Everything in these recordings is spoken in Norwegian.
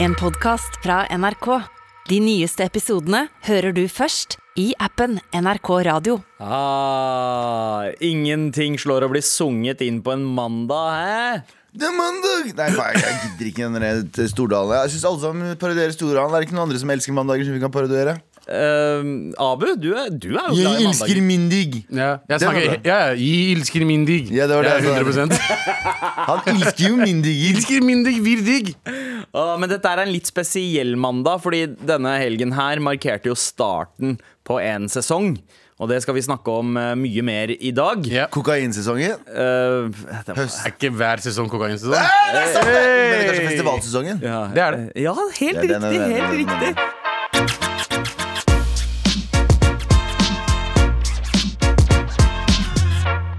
En podcast fra NRK. De nyeste episodene hører du først i appen NRK Radio. Ah, ingenting slår å bli sunget inn på en mandag, hæ? Det er mandag! Nei, faen, jeg gidder ikke den der eh, Stordalen. Jeg syns alle sammen parodierer Stordalen. Er det ikke noen andre som elsker mandager som vi kan parodiere? Ehm, Abu, du er, du er jo glad i Jeg elsker mandager. min digg! Ja, jeg Det var snakker, bra. ja, ja, jeg elsker min digg. Ja, det var det jeg jeg sa. er 100 Han elsker jo min digger. Elsker min digg, vir digg. Ah, men dette er en litt spesiell mandag, fordi denne helgen her markerte jo starten på en sesong. Og det skal vi snakke om eh, mye mer i dag. Ja. Kokainsesongen. Eh, det var, Høst. Er ikke hver sesong kokainsesong? Men det er kanskje festivalsesongen. ja, Det er det. eh, Ja, helt Ja, den er riktig. det. Helt riktig.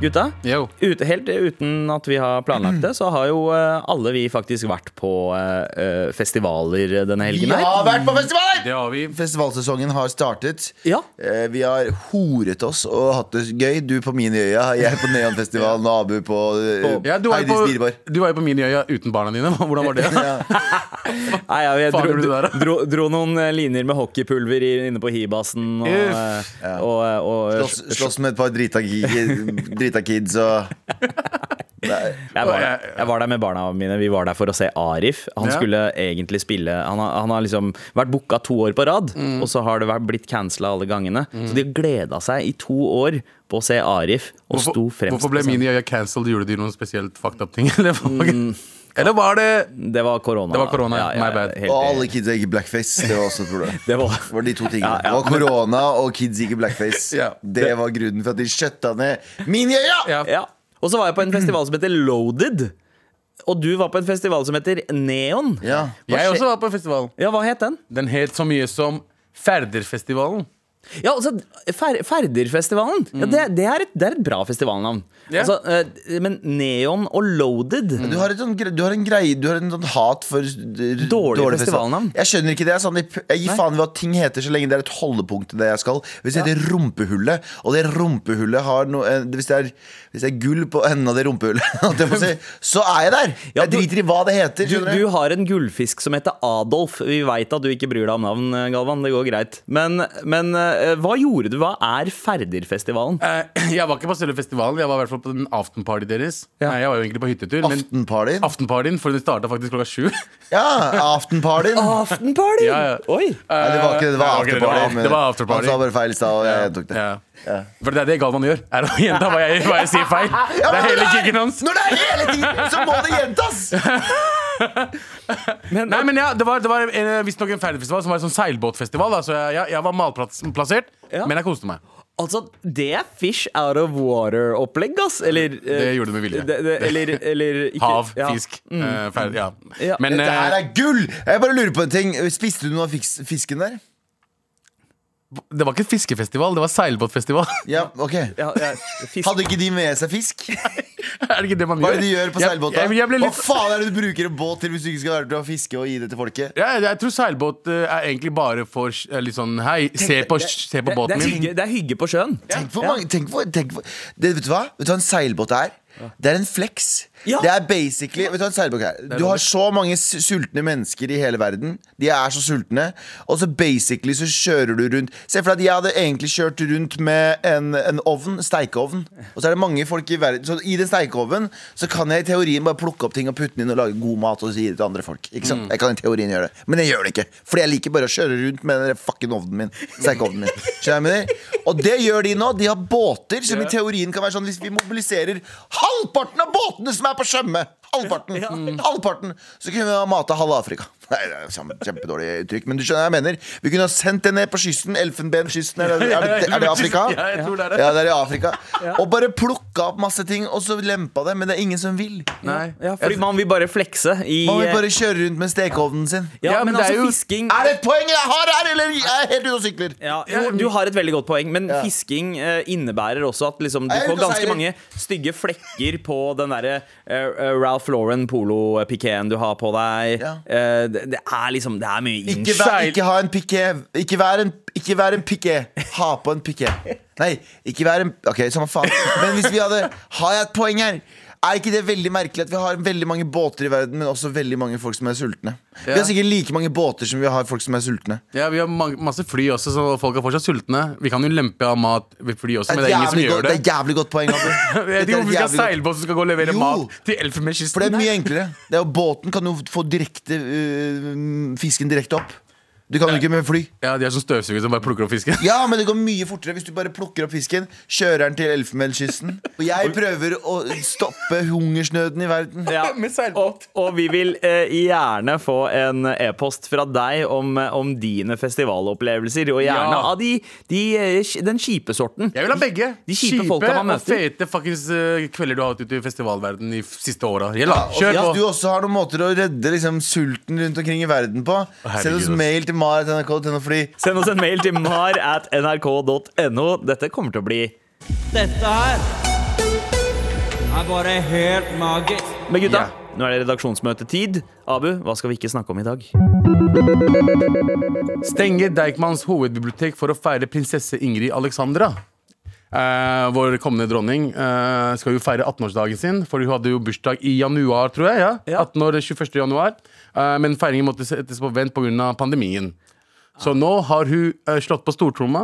Gutta? Jo. Ut, helt eh, uten at vi har planlagt det, så har jo eh, alle vi faktisk vært på eh, eh, festivaler denne Vi helgen her. har vært på festivaler! Det har vi. Festivalsesongen har startet. Ja. Eh, Vi har horet oss og hatt det gøy. Du på min øya, jeg på Neonfestivalen og Abu på eh, Ja, du var Heidis jo på, Bilbar. du var jo på min øya uten barna dine. Hvordan var det? Nei, ja, jeg Faen, dro, gjorde du det der, da? dro, dro noen eh, linjer med hockeypulver i- inne på hibasen. Og, eh, Uff. og, eh, og, eh, Slåss, slåss med et par drita, ki- drita kids og Nei. jeg, var der, jeg var der med barna mine. Vi var der for å se Arif. Han Ja. skulle egentlig spille Han har, han har liksom vært booka to år på rad, Mm. og så har det vært, blitt cancela alle gangene. Så de gleda seg i to år på å se Arif, og sto Hvorfor, fremst. liksom. hvorfor ble på min øya cancelled? Gjorde de noen spesielt fucked up ting? Eller, Mm. hva? eller var det Det var korona. Det var korona, da. my bad. helt Og enig. alle kids gikk i blackface. Det var også et problem. Det var Det var de to tingene. Ja, ja. Det var korona og kids gikk i blackface. Ja. Det var grunnen for at de skjøtta ned min øya! ja. ja. Og så var jeg på en festival som heter Loaded. Og du var på en festival som heter Neon. Ja. Jeg også var på festival. Ja, hva het den? Den het så mye som Færderfestivalen. Ja, altså, Fer Ferderfestivalen. Ja, det, det, er et, det er et bra festivalnavn. Ja. Altså, eh, men Neon og Loaded Du har, et sånn, gre- du har en greie Du har en sånn hat for d- dårlig festivalnavn. Jeg skjønner ikke det. Jeg, er sånn, jeg p- jeg gir faen i hva ting heter, så lenge det er et holdepunkt til det jeg skal. Hvis det heter Rumpehullet, og det rumpehullet har noe eh, Hvis det er, hvis det er gull på enden av det rumpehullet, holdt jeg på å si, så er jeg der! Ja, Jeg du- driter i hva det heter. Du, skjønner du har en gullfisk som heter Adolf. Vi veit at du ikke bryr deg om navn, eh, Galvan. Det går greit. Men, men eh, hva gjorde du? Hva er Ferderfestivalen? Eh, Jeg var ikke på selve festivalen, jeg var i hvert fall på den aftenparty deres. Ja. Nei, Jeg var jo egentlig på hyttetur. Men Aftenpartyen? aftenpartyen, for den starta faktisk klokka sju. Ja, aftenpartyen. Aftenparty! Ja, ja. Oi! Nei, det var ikke det. Det var Ja, ok, det var- afterparty. men det var afterparty. Han sa bare feil i stad, og jeg tok det. Ja. For det er det Galvan gjør. Er å gjenta hva jeg, hva jeg sier feil. Det er hele kicken hans. Når det er hele tiden, så må det gjentas! Men, Nei, men ja, Det var, det var en- visstnok en ferdigfestival som var en sånn seilbåtfestival. Da. Så jeg, jeg, jeg var malplassert, Ja. men jeg koste meg. Altså, det er fish out of water-opplegg, ass. Eller eh, Det gjorde du med vilje. Det, det, eller, eller ikke Hav, ja. fisk. eh, ferdig, ja. Ja, Men Mm. Dette her eh, er gull! Jeg bare lurer på en ting. Spiste du noe av fiks- fisken der? det var ikke et fiskefestival, det var seilbåtfestival. Ja, ok Ja, ja, fisk. Hadde ikke de med seg fisk? er det ikke det man Hva gjør? er det de gjør på Jeg- seilbåta? Jeg, jeg, ble litt, Hva faen er det du bruker en båt til hvis du ikke skal være til å fiske og gi det til folket? ja, jeg tror seilbåt eh, er egentlig bare for eh, litt sånn Hei, se på, se på det, det, båten er min. hygge, det er hygge på sjøen. Tenk hvor mange tenk hvor, tenk hvor, det, Vet du hva? Vet du hva en seilbåt er? Det er en flex. Ja. Det er basically Vet Du hva en seilbåt er? Du har så mange s- sultne mennesker i hele verden. De er så sultne. Og så basically så kjører du rundt Se for deg at jeg hadde egentlig kjørt rundt med en, en ovn, steikeovn. Og så er det mange folk i verden Så i den steikeovnen så kan jeg i teorien bare plukke opp ting og putte den inn og lage god mat og gi det til andre folk. Ikke sant? Jeg kan i teorien gjøre det. Men jeg gjør det ikke. Fordi jeg liker bare å kjøre rundt med den der fucking ovnen min. Steikeovnen min. Skjønner du hva jeg mener? Og det gjør de nå. De har båter som i teorien kan være sånn hvis vi mobiliserer halvparten av båtene som er på skjømme. Halvparten. Halvparten. Så kunne vi ha mata halve Afrika. Nei, det er samme- kjempedårlig uttrykk, men du skjønner hva jeg mener. Vi kunne ha sendt det ned på kysten. Elfenbenskysten, er, det- er, det- er det Afrika? Ja, jeg tror det er det. Ja, det er i Afrika. Og bare plukka opp masse ting, og så lempa det, men det er ingen som vil. Nei. Ja, fordi man vil bare flekse i Man vil bare kjøre rundt med stekeovnen sin. Ja, Ja, men, men det er altså, jo- fisking Er det et poeng jeg har her, eller er jeg helt ute og sykler? ja, jo, Du har et veldig godt poeng, men fisking eh, innebærer også at liksom, du Jeg er får ute og ganske seiler. mange stygge flekker på den derre eh, eh, Ralph Lauren-polo-pikeen du har på deg. Ja. Eh, det, det er liksom Det er mye Ikke innsj... vær, ikke ha en piké. Ikke vær en, ikke vær en piké. Ha på en piké. Nei, ikke vær en Ok, samme faen. Men hvis vi hadde Har jeg et poeng her? Er ikke det veldig merkelig at vi har veldig mange båter i verden, men også veldig mange folk som er sultne? Vi har sikkert like mange båter som vi har folk som er sultne. Ja, Vi har ma masse fly også, så folk er fortsatt sultne. Vi kan jo lempe av mat ved fly også, Det men er, det er ingen som jævlig godt, gjør det det. er jævlig godt poeng. Abu. Jeg vet Dette er ikke hvorfor vi skal jævlig ha godt. seilbåt som skal gå og levere Jo. mat til For det Elfenbenskysten. er mye enklere. Det er jo, båten kan jo få direkte øh, fisken direkte opp. Du kan jo ikke med fly. Ja, De er sånn støvsugere som bare plukker opp fisken. Ja, men det går mye fortere hvis du bare plukker opp fisken, kjører den til Elfenbenskysten. Og jeg prøver å stoppe hungersnøden i verden. Ja. Med seilbåt. Og, og vi vil eh, gjerne få en e-post fra deg om, eh, om dine festivalopplevelser. Og gjerne Ja. av de, de, eh, sk- den kjipe sorten. Jeg vil ha begge. De kjipe folka man og møter. fete fuckings eh, kvelder du har hatt ute i festivalverden de siste åra. Gjeld, da. Og Kjør hvis du på. også har noen måter å redde liksom, sulten rundt omkring i verden på, herregud, send oss ass. mail til mar.nrk.no, fordi Send oss en mail til mar at nrk.no. Dette kommer til å bli Dette her er bare helt magisk. Men gutta, nå er det redaksjonsmøtetid. Abu, hva skal vi ikke snakke om i dag? Stenger Deichmans hovedbibliotek for å feire prinsesse Ingrid Alexandra. Eh, vår kommende dronning eh, skal jo feire 18-årsdagen sin, for hun hadde jo bursdag i januar, tror jeg. ja, Ja. 18 år, 21. januar Eh, Men feiringen måtte settes på vent pga. pandemien. Så nå har hun eh, slått på stortromma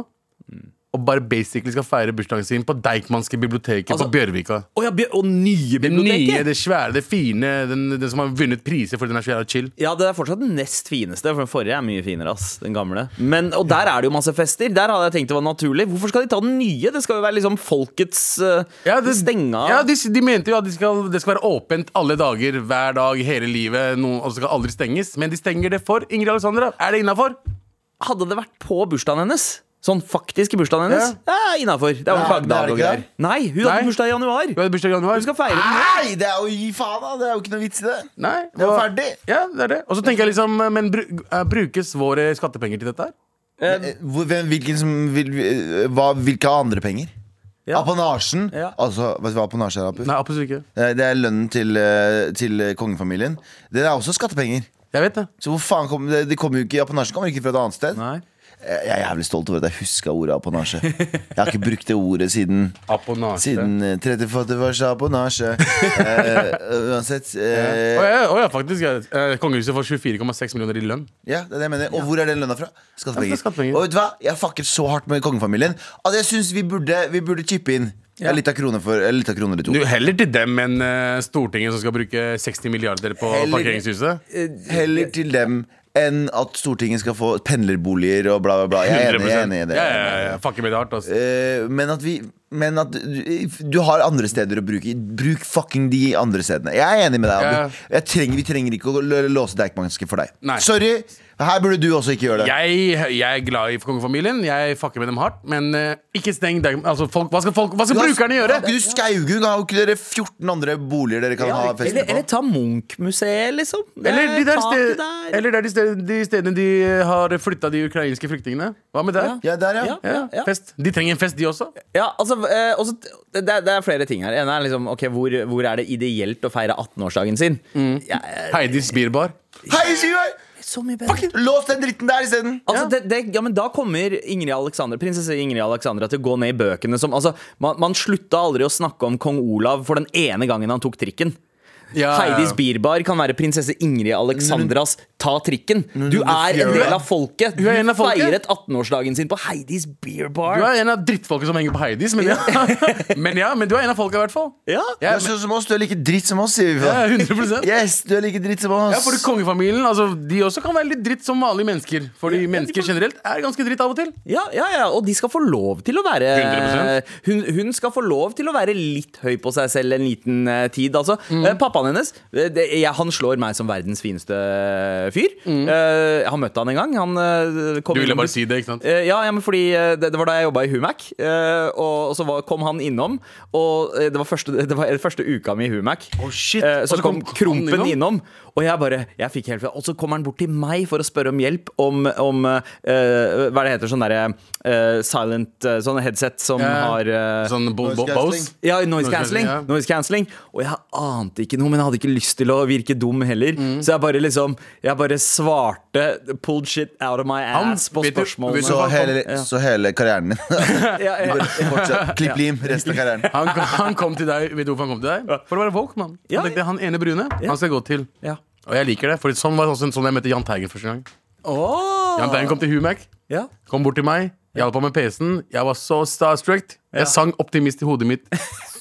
og bare basically skal feire bursdagen sin på Deichmanske biblioteket Altså, på Bjørvika. Å ja, Bjør- og nye Det nye, biblioteket! det svære, det fine, den, den som har vunnet priser fordi den er svær og chill. Ja, det er fortsatt den nest fineste, for den forrige er mye finere. ass, den gamle Men, Og der er det jo masse fester. Der hadde jeg tenkt det var naturlig. Hvorfor skal de ta den nye? Det skal jo være liksom folkets uh, Ja, det, stenge av. ja de, de mente jo at de skal, det skal være åpent alle dager, hver dag, hele livet. Noen, og det skal aldri stenges. Men de stenger det for Ingrid Alexandra. Er det innafor? Hadde det vært på bursdagen hennes Sånn faktisk i bursdagen hennes Ja, innafor. Det er jo en Nei, det er fagdag det og ikke greier. det. Nei, hun hadde Nei. Ah. bursdag i januar. Du hadde bursdag i januar. Hun skal feire den. Nei, det er jo gi faen, da! Det er jo ikke noe vits i det. Nei, Det var og- ferdig. Ja, det er det. Og så tenker jeg liksom Men bru, eh, brukes våre skattepenger til dette her? Eh, hvor- hvem- Hvilken som vil, eh, hva, hvilke andre penger? Ja. Apanasjen? Ja. Altså, vet du hva apanasje er, Apu? Nei, absolutt ikke. Eh, Det er lønnen til, eh, til eh, kongefamilien. Det er også skattepenger. Jeg vet det. Så hvor faen kom, det, det kommer jo ikke, Apanasjen kommer ikke fra et annet sted. Nei. Eh, Jeg er jævlig stolt over at jeg huska ordet apanasje. Jeg har ikke brukt det ordet siden Aponasje. Siden eh, 30-40 års apanasje. Eh, uansett. Å Eh, ja, å ja, faktisk. Ja. Eh, Kongehuset får 24,6 millioner i lønn. ja, det er det jeg mener. Og hvor er den lønna fra? Ja, Skattepenger. fra skattepenger. Og vet du hva? Jeg fucket så hardt med kongefamilien at jeg syns vi burde, vi burde chippe inn. Ja. Litt av kroner for, eller litt av kroner i to. Du, heller til dem enn eh, Stortinget, som skal bruke 60 milliarder på Heller- parkeringshuset. Heller til dem enn at Stortinget skal få pendlerboliger og bla, bla, bla. Jeg er enig, jeg er enig i det. Ja, ja, ja. Fucker med det hardt, altså. Eh, men at vi Men at du, du har andre steder å bruke. Bruk fucking de andre stedene. Jeg er enig med deg. Abu. Jeg trenger, vi trenger ikke å l- låse Deichmanske for deg. Nei. Sorry. Her burde du også ikke gjøre det. Jeg, jeg er glad i kongefamilien. Jeg fucker med dem hardt. Men eh, ikke steng deg. Altså, folk, hva skal, folk, hva skal Du har- brukerne gjøre? Har ikke du Skaugung? Har ikke dere 14 andre boliger dere kan ha fester Eller, på? eller ta Munch-museet, liksom. Det Eller er de, der taket sted, der. eller det er de, sted, de stedene de eh, har flytta de ukrainske flyktningene. Hva med der? Ja, der, ja. Ja. Ja, Fest. De trenger en fest, de også. Ja, altså, eh, også, det, er- det er flere ting her. En er liksom, ok, hvor, hvor er det ideelt å feire 18-årsdagen sin? Mm. Ja, eh, Heidis Bierbar. Hei, Sjøøy! så mye bedre. Lås den dritten der isteden. Altså, det, det, ja, men da kommer Ingrid Alexander, prinsesse Ingrid Alexandra til å gå ned i bøkene som altså, man, man slutta aldri å snakke om kong Olav for den ene gangen han tok trikken. Ja, ja, ja. Heidis Bierbar kan være prinsesse Ingrid Alexandras Ta trikken. Du er en del av folket. Du er en av folket. feiret 18-årsdagen sin på Heidis Du Bierbar. er en av drittfolket som henger på Heidis, men ja, men, ja, men du er en av folka, i hvert fall. Ja. Du Ja, er sånn som oss. Du er like dritt som oss, sier vi. men, ja, faen. 100 Yes, du er like dritt som oss. Ja, fordi kongefamilien altså, De også kan være litt dritt som vanlige mennesker. Fordi mennesker generelt er ganske dritt av og til. Ja, ja, ja, og de skal få lov til å være 100%. hun, hun skal få lov til å være litt høy på seg selv en liten eh, tid, altså. Mm. Eh, Pappaen hennes eh, det, jeg, Han slår meg som verdens fineste fyr. Eh, jeg har møtt han en gang. Han, eh, kom Mm. Du ville innom- bare si det, ikke sant? Eh, ja, ja, men fordi eh, det, det var da jeg jobba i Humac, eh, og, og så var, kom han innom. Og eh, det var første, det var første uka mi i Humac. Å, Oh, shit. Eh, Og så, så kom, kom Krompen han innom. innom? og jeg bare jeg fikk helt, Og så kommer han bort til meg for å spørre om hjelp om, om eh, Hva er det heter sånn derre eh, silent eh, Sånn headset som Ja. har eh, Sånn bo, bo, Noise Bose. cancelling. ja, noise Noise cancelling. cancelling, ja. Noise cancelling Og jeg ante ikke noe, men jeg hadde ikke lyst til å virke dum heller. Mm. Så jeg bare liksom Jeg bare svarte pulled shit out of my Han- ass på vet du- spørsmålene. vet du Så hva? hele, Ja. så hele karrieren din. ja, ja. Fortsatt. Klipp lim resten av karrieren. Han, han kom til deg, Vet du hvorfor han kom til deg? For å være woke, mann. Ja, Han tenkte han ene brune, han skal jeg gå til. ja. Og jeg liker det, for sånn var sånn, sånn jeg møtte Jahn Teigen første gang. Åh! Jahn Teigen kom til Humac, ja. kom bort til meg, hjalp ham med PC-en. Jeg var så starstruck. Jeg sang 'Optimist' i hodet mitt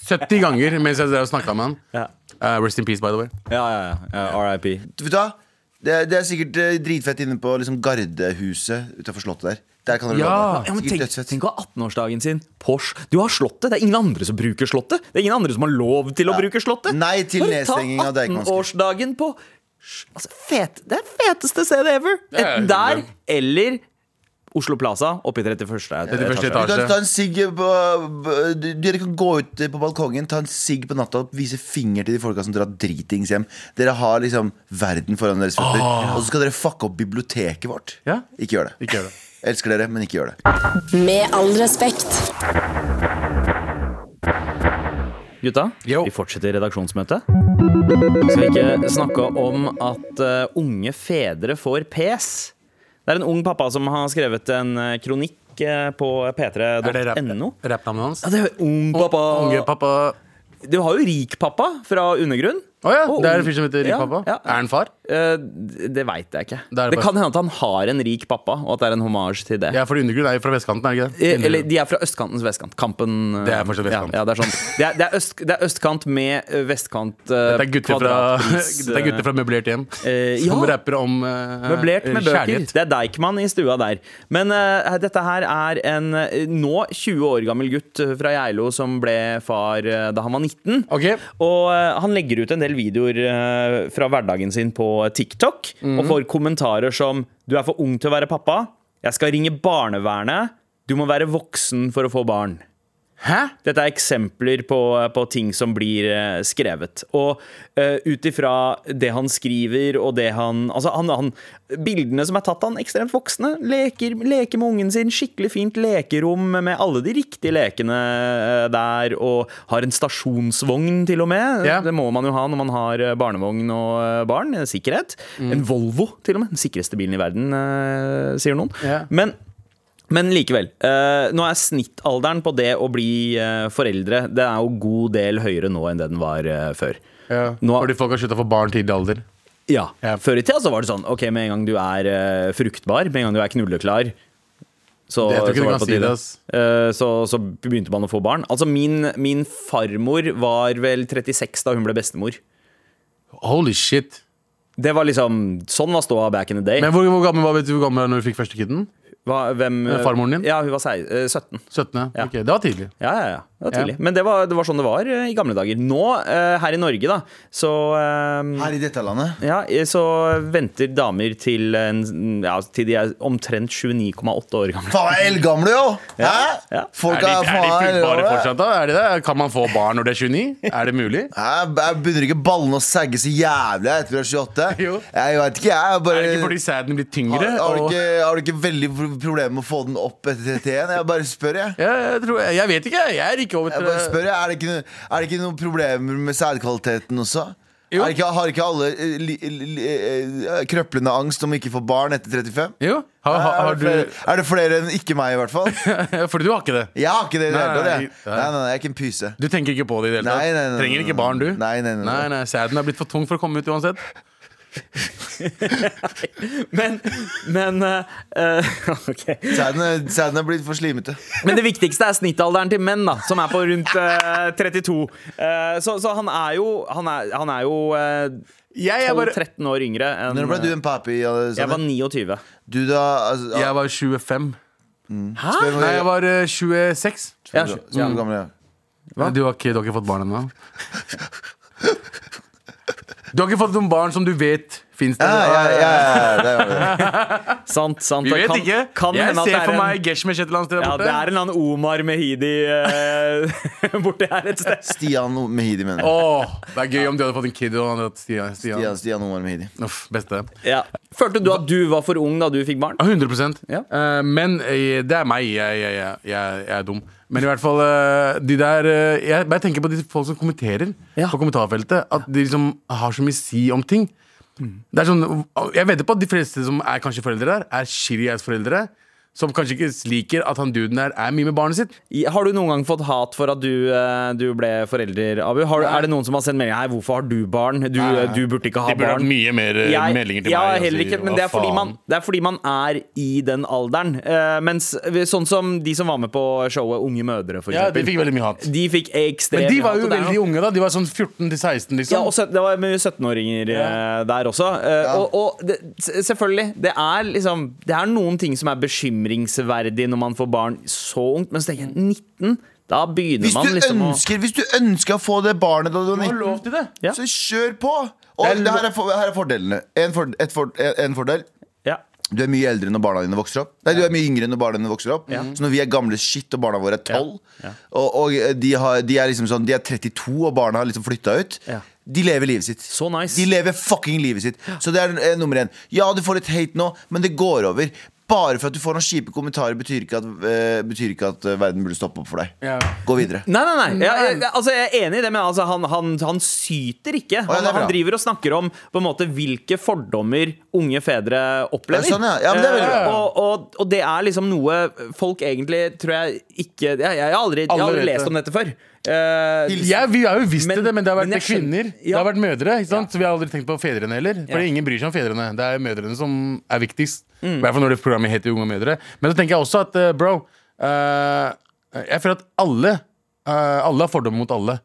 70 ganger mens jeg drev og snakka med han. Ja. Eh, rest in peace, by the way. Ja, ja, ja. ja. RIP. Vet du hva? Det, det er sikkert eh, dritfett inne på liksom Gardehuset utenfor Slottet der. Der kan du Ja. lade. Ja, men Sikkert tenk, dødsfett. tenk å ha 18-årsdagen sin. Porsche. Du har Slottet. Det er ingen andre som bruker Slottet. Det er ingen andre som har lov til å Ja. bruke Slottet. Nei til Bare ta nedstenging av Deichmanske. 18-årsdagen på altså, fet, Det er feteste stedet ever. er Enten helt der eller Oslo Plaza oppe i 31. 31. Du etasje. kan ta en sigg på b- du- Dere kan gå ut eh, på balkongen, ta en sigg på natta og vise finger til de folka som drar dritings hjem. Dere har liksom verden foran deres føtter. Og så skal dere fucke opp biblioteket vårt. Ja. Ikke gjør det. Ikke gjør det. Elsker dere, men ikke gjør det. Med all respekt. Gutta, Yo. vi fortsetter redaksjonsmøtet. Skal vi ikke snakke om at eh, unge fedre får pes? Det er en ung pappa som har skrevet en eh, kronikk eh, på Er det rap- p3.no. rappnavnet hans? Ja, det er ung pappa. Unge pappa. Du har jo rik pappa fra undergrunn. Å ja, Og det er ung- en fyr som heter Rik Ja, pappa. ja. Er han far? Eh, d- det veit jeg ikke. Det er Det, bare- kan hende at han har en rik pappa, og at det er en hommage til det. Ja, for undergrunn er jo fra vestkanten, er det ikke det? Eh, Eller de er fra østkantens vestkant. Kampen eh, Det er fortsatt vestkant. Ja, ja, det, er sånn. det, er, det, er øst, det er østkant med eh, vestkant eh, det er gutter fra, kvadratpris, det er gutter fra møblert hjem eh, som ja. rapper om eh, Møblert med bøker. kjærlighet. Det er Deichman i stua der. Men eh, dette her er en eh, nå 20 år gammel gutt eh, fra Geilo som ble far eh, da han var 19. Ok. Og eh, han legger ut en del videoer eh, fra hverdagen sin på TikTok, og får kommentarer som 'Du er for ung til å være pappa', 'Jeg skal ringe barnevernet', 'Du må være voksen for å få barn'. Hæ? Dette er eksempler på, på ting som blir eh, skrevet. Og uh, ut ifra det han skriver og det han Altså, han, han Bildene som er tatt av han, ekstremt voksne. Leker, leker med ungen sin. Skikkelig fint lekerom med alle de riktige lekene eh, der. Og har en stasjonsvogn, til og med. Ja. Det må man jo ha når man har eh, barnevogn og eh, barn. eh, Sikkerhet. Mm. En Volvo, til og med. Den sikreste bilen i verden, eh, sier noen. Ja. Men men likevel. eh, nå er snittalderen på det å bli eh, foreldre Det er jo god del høyere nå enn det den var eh, før. Ja. Nå- Fordi folk har slutta å få barn tidlig alder. Ja. Ja. Før i tida så var det sånn Ok, med en gang du er eh, fruktbar, med en gang du er knulleklar så, Det- jeg tror ikke så, du var kan det på si det, tide. ass. Eh, så, så begynte man å få barn. Altså, min, min farmor var vel 36 da hun ble bestemor. Holy shit. Det var liksom Sånn var ståa back in the day. Men hvor, hvor gammel var vet du hvor gammel du var når du fikk første kiden? Hva, hvem, Eh, farmoren din? Ja, hun var sei- eh, 17. 17. Ja. Ok, Det var tidlig. Ja, ja, ja. Det var Ja. tidlig. Men det var, det var sånn det var eh, i gamle dager. Nå, eh, her i Norge, da, så eh, Her i dette landet. ja, eh, så venter damer til, en, ja, til de er omtrent 29,8 år gamle. Faen, jeg er eldgamle, jo! Hæ? ja. Folk Er de, er er de faen fruktbare eldgamle. fortsatt, da? Er de det? Kan man få barn når de er 29? Er det mulig? Jeg, jeg begynner ikke ballene å sagge så jævlig etter du er 28. Jo. Jeg vet ikke, jeg. Er Bare, det ikke fordi sæden blir tyngre? har, har, du og- ikke, har du ikke veldig pro- problemer med å få den opp etter 31? Jeg bare spør, jeg. Ja, jeg, tror, jeg vet ikke. Jeg er ikke over Jeg bare spør, jeg, er det ikke, noe- er det ikke noen problemer med sædkvaliteten også? Jo. Er det ikke, har ikke alle eh, li, li, eh, krøplende angst om ikke å få barn etter 35? Jo, har, har, er, har du det flere, er det flere enn ikke meg, i hvert fall? Fordi du har ikke det. Jeg har ikke det i det hele Nei, tatt. nei, jeg. nei. Nei, nei, nei, jeg er ikke en pyse. Du tenker ikke på det i det hele Nei, nei, tatt? nei, Trenger nei, ikke barn, du? Nei, nei, nei, nei, nei. nei Sæden er blitt for tung for å komme ut uansett. Men, men eh, eh, ok. Sæden er- Sæden er blitt for slimete. Men det viktigste er snittalderen til menn, da, som er på rundt eh, 32. Eh, så, så han er jo Han er, han er jo eh, Jeg, er bare, 12-13 år yngre enn eh, Når ble du en papi? Alexander? Jeg var 29. Du da altså, jeg var 25. Hæ? spør hvor- Nei, jeg var eh, 26. Ja, spør ja. Mm. hvor gammel jeg er. Du har ikke, du har ikke fått barn ennå? Du har ikke fått noen barn som du vet Fins det? Ja, ja, ja, ja, det er det. Sant, sant. Vi Det vet kan, ikke. Kan jeg hende at det ser er for en- meg Geshmesh et eller annet sted der Ja, det borte. er en eller annen Omar Mehidi eh, borti her et sted. Stian Mehidi, mener jeg. Åh, det er gøy om de hadde fått en kid og han hadde hatt Stian. Stian. Stian, Stian Omar Mehidi. Uff, beste. Følte du at du var for ung da du fikk barn? Ja, 100 Ja. Eh, Men eh, det er meg. Jeg, jeg, jeg, jeg, jeg er dum. Men i hvert fall eh, de der eh, Jeg bare tenker på de folk som kommenterer Ja. på kommentarfeltet. At de liksom har så mye si om ting. Mm. Det er sånn, jeg vedder på at de fleste som er kanskje foreldre der, er shitty ass foreldre. Som kanskje ikke liker at han duden der er mye med barnet sitt. I- Har du noen gang fått hat for at du, eh, du ble forelder, Abu? Har, du- er det noen som har sendt melding Hei, hvorfor har du barn? Du, du burde ikke ha De burde hatt barn. mye mer eh, Jeg- meldinger til ja, meg. og heller sier, ikke, men «Hva det er, fordi faen?» man, det er fordi man er i den alderen. Eh, mens vi- sånn som de som var med på showet Unge mødre, for Ja, de eksempel. fikk veldig mye hat. De fikk ekstremt Men de hat, var jo og det er noe- veldig unge, da. De var sånn 14 til 16, liksom. ja, og søt- det var mye 17-åringer Ja. eh, der også. Eh, Og, og det, s- selvfølgelig, det er, liksom, det er noen ting som er bekymringsverdig når man får barn så ungt, men så tenker jeg 19, da begynner Mm. Hvis man du, liksom å ønsker, hvis du ønsker å få det barnet da du var Du har 19, lov til det. Ja. så kjør på! Og Det er det her, er for, her er fordelene. En, for, et for, en fordel ja. du er mye eldre når barna dine vokser opp. Nei, du er mye yngre når barna dine vokser opp. Så når vi er gamle shit, og barna våre er 12, og, og eh, de, har, de er liksom sånn De er 32, og barna har liksom flytta ut. Ja. De lever livet sitt. Så nice. De lever fucking livet sitt. Så det er eh, nummer én. Ja, du får litt hate nå, men det går over. Bare for at du får noen kjipe kommentarer, betyr ikke at, eh, betyr ikke at eh, verden burde stoppe opp for deg. Ja. Gå videre. Nei, nei, nei. Jeg, jeg, altså, jeg er enig i det, men altså, han, han, han syter ikke. ja, Han, det er bra. han driver og snakker om på en måte, hvilke fordommer unge fedre opplever. Ja, sånn, ja. Ja, men det er veldig bra. Eh, og, og, og det er liksom noe folk egentlig tror jeg ikke Jeg, jeg, har, aldri, jeg har Alle aldri vet lest det. om dette før. Eh, Ja, vi har jo visst Men- det, men det har vært men jeg kvinner. skjønner- Det ja. har vært mødre. ikke sant? Så vi har aldri tenkt på fedrene heller. Fordi Ja. Mm. ingen bryr seg om fedrene. Det er mødrene som er viktigst. I hvert fall når det programmet heter Unge mødre. Men så tenker jeg også at eh, bro eh, Jeg føler at alle eh, Alle har fordommer mot alle.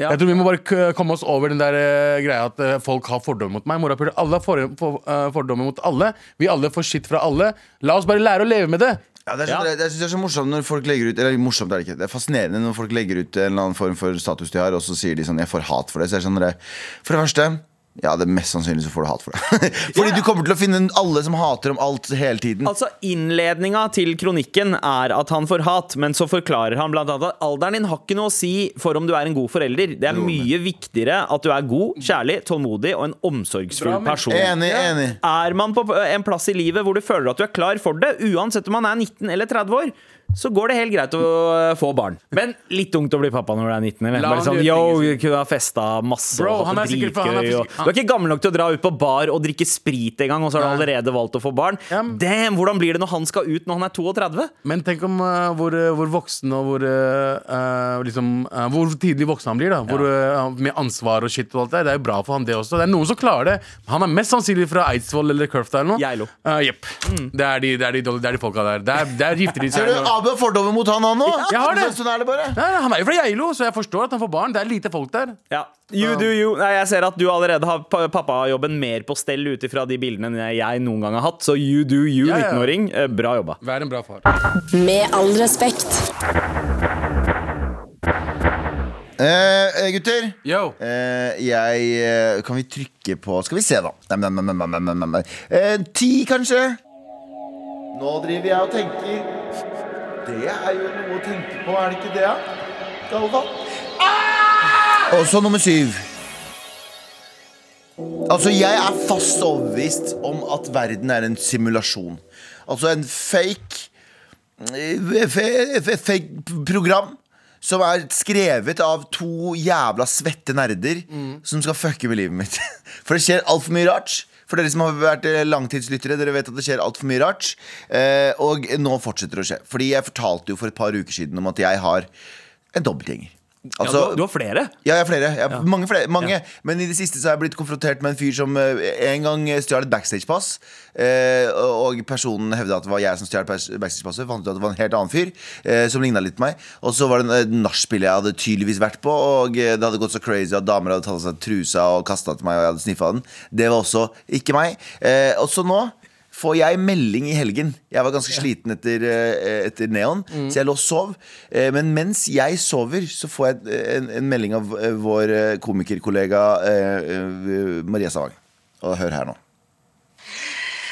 Ja. Jeg tror Vi må bare k- komme oss over den der eh, greia at eh, folk har fordommer mot meg. Morapuler, alle har for, for, eh, fordommer mot alle. Vi alle får shit fra alle. La oss bare lære å leve med det. Ja, det er så, Ja. det, det- jeg synes det er så morsomt når folk legger ut Eller morsomt er det ikke, det er fascinerende når folk legger ut en eller annen form for status de har, og så sier de sånn 'jeg får hat for det'. Så er det sånn, det- for det første ja, det er mest sannsynlig så får du hat for det. Fordi du kommer til å finne alle som hater om alt hele tiden. Altså Innledninga til kronikken er at han får hat, men så forklarer han blant annet at alderen din har ikke noe å si for om du er en god forelder. Det er mye viktigere at du er god, kjærlig, tålmodig og en omsorgsfull person. Enig, enig. Er man på en plass i livet hvor du føler at du er klar for det, uansett om man er 19 eller 30 år, så går det helt greit å øh, få barn. Men litt ungt å bli pappa når du er 19. Eller? La Bare han sånn, gjøre yo, tingene kunne ha festa masse Bro, og hatt han er det sikkert- han er dritgøy, og- sikkert- Du er ikke gammel nok til å dra ut på bar og drikke sprit engang, og så har du Nei. allerede valgt å få barn. Ja, men- Damn, hvordan blir det når han skal ut når han er 32? Men tenk om eh, hvor, eh, hvor voksen og hvor eh, eh, liksom, eh, Hvor tidlig voksen han blir. da hvor, eh, Med ansvar og shit og alt det der. Det er jo bra for han, det også. Det er noen som klarer det. Han er mest sannsynlig fra Eidsvoll eller Curfta eller noe. Geilo. Eh, jepp. Det, er de, det, er de, dårlige- det er de folka der. Der, der gifter de Ser seg. du, Abu har fordommer mot han, han nå. Jeg har det. Sånn er det bare. Nei, nei, han er jo fra Geilo, så jeg forstår at han får barn. Det er lite folk der. Ja. You do you. Nei, jeg ser at du allerede har pa- pappajobben mer på stell ut ifra de bildene enn jeg noen gang har hatt, så you do you, Ja, ja. 19-åring. Eh, Bra jobba. Vær en bra far. Med all respekt. Eh, eh, gutter. Yo. Eh, jeg eh, Kan vi trykke på Skal vi se, da. Nei, nei, nei, nei, nei, nei, nei, nei. Eh, ti, kanskje? Nå driver jeg og tenker. Det er jo noe å tenke på, er det ikke det? ja? Galvan? Ah! Og så nummer syv. Altså, jeg er fast overbevist om at verden er en simulasjon. Altså en fake eh, fe- fe- fake program som er skrevet av to jævla svette nerder Mm. som skal fucke med livet mitt. For det skjer altfor mye rart. For dere som har vært eh, langtidslyttere, dere vet at det skjer altfor mye rart. Eh, og nå fortsetter det å skje. Fordi jeg fortalte jo for et par uker siden om at jeg har en dobbeltgjenger. Ja, Altså- du, du har flere. ja, jeg har flere. Jeg har Mange flere. Mange. Men i det siste så har jeg blitt konfrontert med en fyr som eh, en gang stjal et backstage-pass. eh, og og personen hevda at det var jeg som stjal pas- backstage-passet. Fant ut at det var en helt annen fyr eh, som ligna litt på meg. Og så var det en- et nachspiel jeg hadde tydeligvis vært på, og eh, det hadde gått så crazy at damer hadde tatt av seg trusa og kasta til meg, og jeg hadde sniffa den. Det var også ikke meg. Eh, og så nå får jeg melding i helgen. Jeg var ganske sliten etter, eh, etter neon, så jeg lå og sov. Eh, Men mens jeg sover, så får jeg eh, en, en melding av eh, vår eh, komikerkollega eh, eh, Maria Savang. Og hør her nå.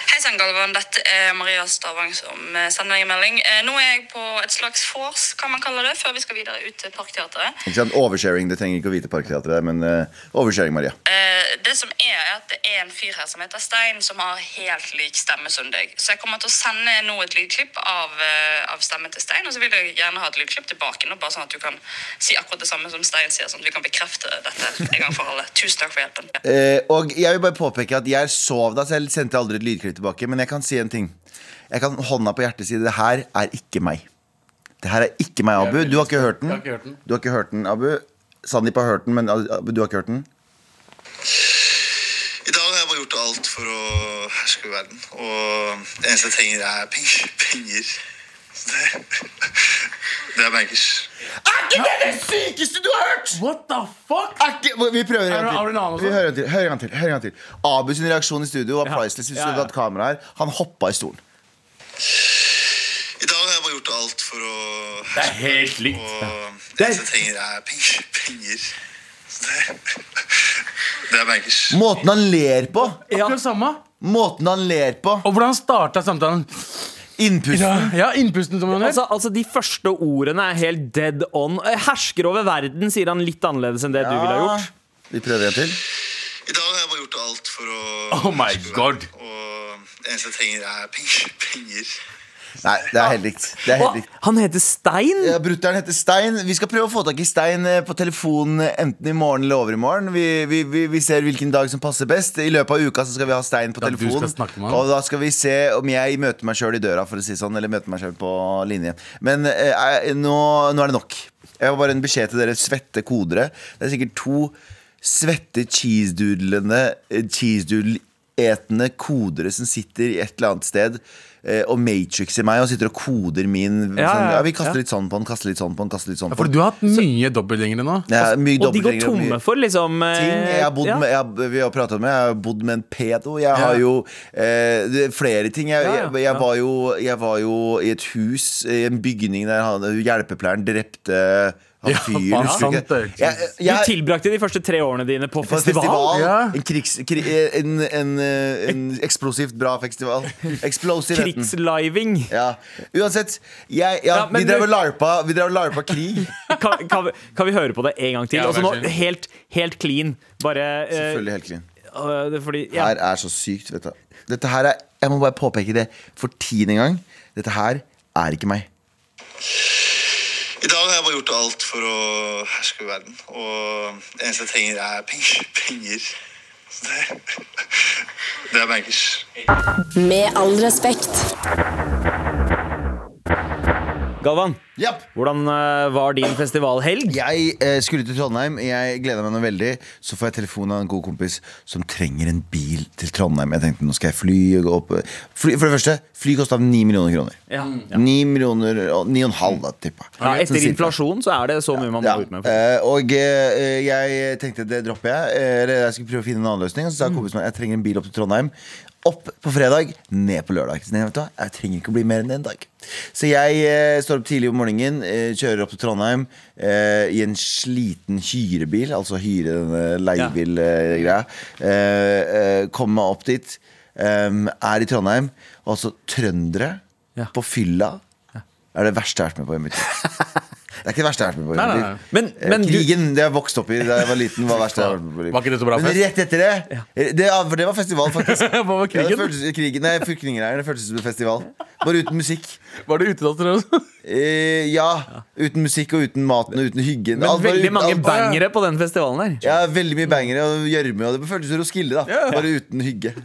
Hei sann, Galvan. Dette er Maria Stavang som eh, sender meg en melding. Eh, Nå er jeg på et slags vors, kan man kalle det, før vi skal videre ut til Parkteatret. Ikke sant? Oversharing. Det trenger ikke å vite Parkteatret, men eh, oversharing, Maria. Eh, Det som er, er at det er en fyr her som heter Stein, som har helt lik stemme som deg. Så jeg kommer til å sende nå et lydklipp av, eh, av stemmen til Stein, og så vil jeg gjerne ha et lydklipp tilbake nå, bare sånn at du kan si akkurat det samme som Stein sier, sånn at vi kan bekrefte dette en gang for alle. Tusen takk for hjelpen. Eh, og jeg vil bare påpeke at jeg sov da, så jeg sendte aldri et lydklipp tilbake. Men jeg kan si en ting. Jeg kan hånda på hjertet si det her er ikke meg. Det her er ikke meg, Abu. Du har ikke hørt den? Jeg har ikke hørt den. Du har ikke hørt den, Abu. Sandeep har hørt den, men Abu, du har ikke hørt den? I dag har jeg bare gjort alt for å herske verden. Og det eneste jeg trenger, er penger. penger. Så det, det er bankers. Sykeste du har hørt! What the fuck? Er ikke, vi prøver en Er det- er det en gang annen til. også? Vi hører en til. Hører en gang til. Hører en gang til. Abu sin reaksjon i studio var priceless. Hvis Ja, du hadde ja. hatt kamera her Han hoppa i stolen. I dag har jeg bare gjort alt for å Det er helt likt. Og det eneste jeg trenger, er penger. penger. Så det, det er bankers. Måten han ler på! Akkurat samme. Måten han ler på! Og hvordan starta samtalen? Innpusten. Ja, innpusten som han gjør. Altså, altså, De første ordene er helt dead on. Eh, Hersker over verden, sier han litt annerledes enn det du ville ha gjort. Vi prøver en til. I dag har jeg bare gjort alt for å Oh my herske God. verden. Og det eneste jeg trenger, er penger. penger. Nei, det er helt likt. Det er helt Hva? likt. Han heter Stein? Ja, Brutter'n heter Stein. Vi skal prøve å få tak i Stein eh, på telefonen eh, enten i morgen eller overmorgen. Vi, vi, vi, vi ser hvilken dag som passer best. I løpet av uka så skal vi ha Stein på Ja, du telefonen. skal snakke med han. Og da skal vi se om jeg møter meg sjøl i døra, for å si det sånn. Eller møter meg sjøl på linjen. Men eh, eh, nå, nå er det nok. Jeg har bare en beskjed til dere svette kodere. Det er sikkert to svette cheesedoodlende eh, cheesedoodle-etende kodere som sitter i et eller annet sted. eh, Og Matrix i meg og sitter og koder min Ja, sånn, ja, ja, Vi kaster ja. litt sånn på den, kaste litt sånn på den, kaste litt sånn på For den. du har hatt mye dobbeltgjengere nå. Det er mye Og de går dobbeltgjengere, mye tomme for liksom eh, Ting. Jeg har bodd ja. med, jeg, har- vi har pratet om det, jeg har bodd med en pedo. Jeg har jo eh, det er flere ting. Jeg, Ja, ja, jeg, jeg, ja. var jo, jeg var jo i et hus, i en bygning der han, hjelpepleieren drepte han Ja, fyren. faen, husker du ikke? sant det. Jeg- Du jeg- tilbrakte de første tre årene dine på på en festival. festival. Ja. En, krigs, kri, en, en, eh, en eksplosivt bra festival. Explosive het den. Krigsliving. Ja. Uansett, jeg, ja, Ja, men vi drev du- og larpa, vi drev og larpa krig. Kan, kan, vi- kan vi høre på det en gang til? Ja, Altså vær nå, så snill. helt, helt clean. Bare eh, Selvfølgelig helt clean. øh, det er fordi, ja. her er så sykt, vet du. Dette her er, jeg må bare påpeke det for tiende gang. Dette her er ikke meg. I dag har jeg bare gjort alt for å herske verden. Og det eneste jeg trenger, er penger. penger. Så det, det er bankers. Med all respekt. Galvan, Japp. hvordan eh, var din festivalhelg? Jeg eh, skulle til Trondheim. Jeg gleda meg noe veldig. Så får jeg telefon av en god kompis som trenger en bil til Trondheim. Jeg tenkte nå skal jeg fly og gå opp fly, For det første, fly kosta 9 millioner kroner. Mm, Ja. Ni millioner, og ni og en halv, da, tippa Ja, etter Sånn cirka. inflasjon så er det så mye man må Ja, ut med. eh, og eh, jeg tenkte det dropper jeg. eh, Eller jeg skulle prøve å finne en annen løsning. Og Mm. så sa kompisen min jeg trenger en bil opp til Trondheim. Opp på fredag, ned på lørdag. Så jeg, vet du, hva, jeg trenger ikke å bli mer enn én dag. Så jeg eh, står opp tidlig om morgenen, eh, kjører opp til Trondheim eh, i en sliten hyrebil. Altså hyre denne eh, leiebilgreia. Uh, Kommer meg opp dit. em, er i Trondheim. Og altså trøndere Ja. på fylla er det verste jeg har vært med på i mitt liv. Det er ikke det verste jeg har vært med på. i Nei, mitt liv. nei, nei. Men- Eh, men du- Krigen, det jeg vokste opp i da jeg var liten, var verst jeg har vært med på. i livet. Var ikke det så bra men fest? rett etter det, det ja, For det var festival, faktisk. Hva var Ja, det krigen? føltes, krigen nei, flyktningleiren. Det føltes som en festival. Bare uten musikk. Var det utedatter også? Eh, ja. Uten musikk og uten maten og uten hyggen. Men Alt bare veldig uten- mange alt- bangere på den festivalen der. Ja, veldig mye bangere og gjørme. og Det føltes som Roskilde, da. Bare uten hygge.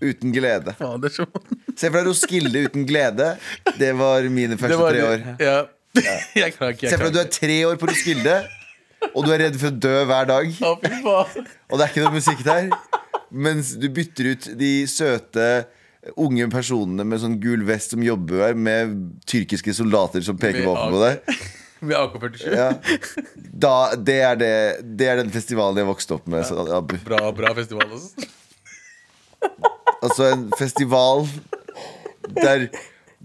Uten glede. Faen, det er så Se for deg Roskilde uten glede. Det var mine første Det var- tre år. Ja. Jeg klarer ikke. Se Jeg for deg du klarer er ikke. tre år på Roskilde, og du er redd for å dø hver dag. Å, fy faen. Og det er ikke noe musikk der. Mens du bytter ut de søte unge personene med sånn gul vest som jobber her, med tyrkiske soldater som peker Med våpen på deg. Vi er AK-47. Ja. Da, det, er det, det er den festivalen jeg vokste opp med. Så, Abu. Bra, bra festival også. Altså en festival der,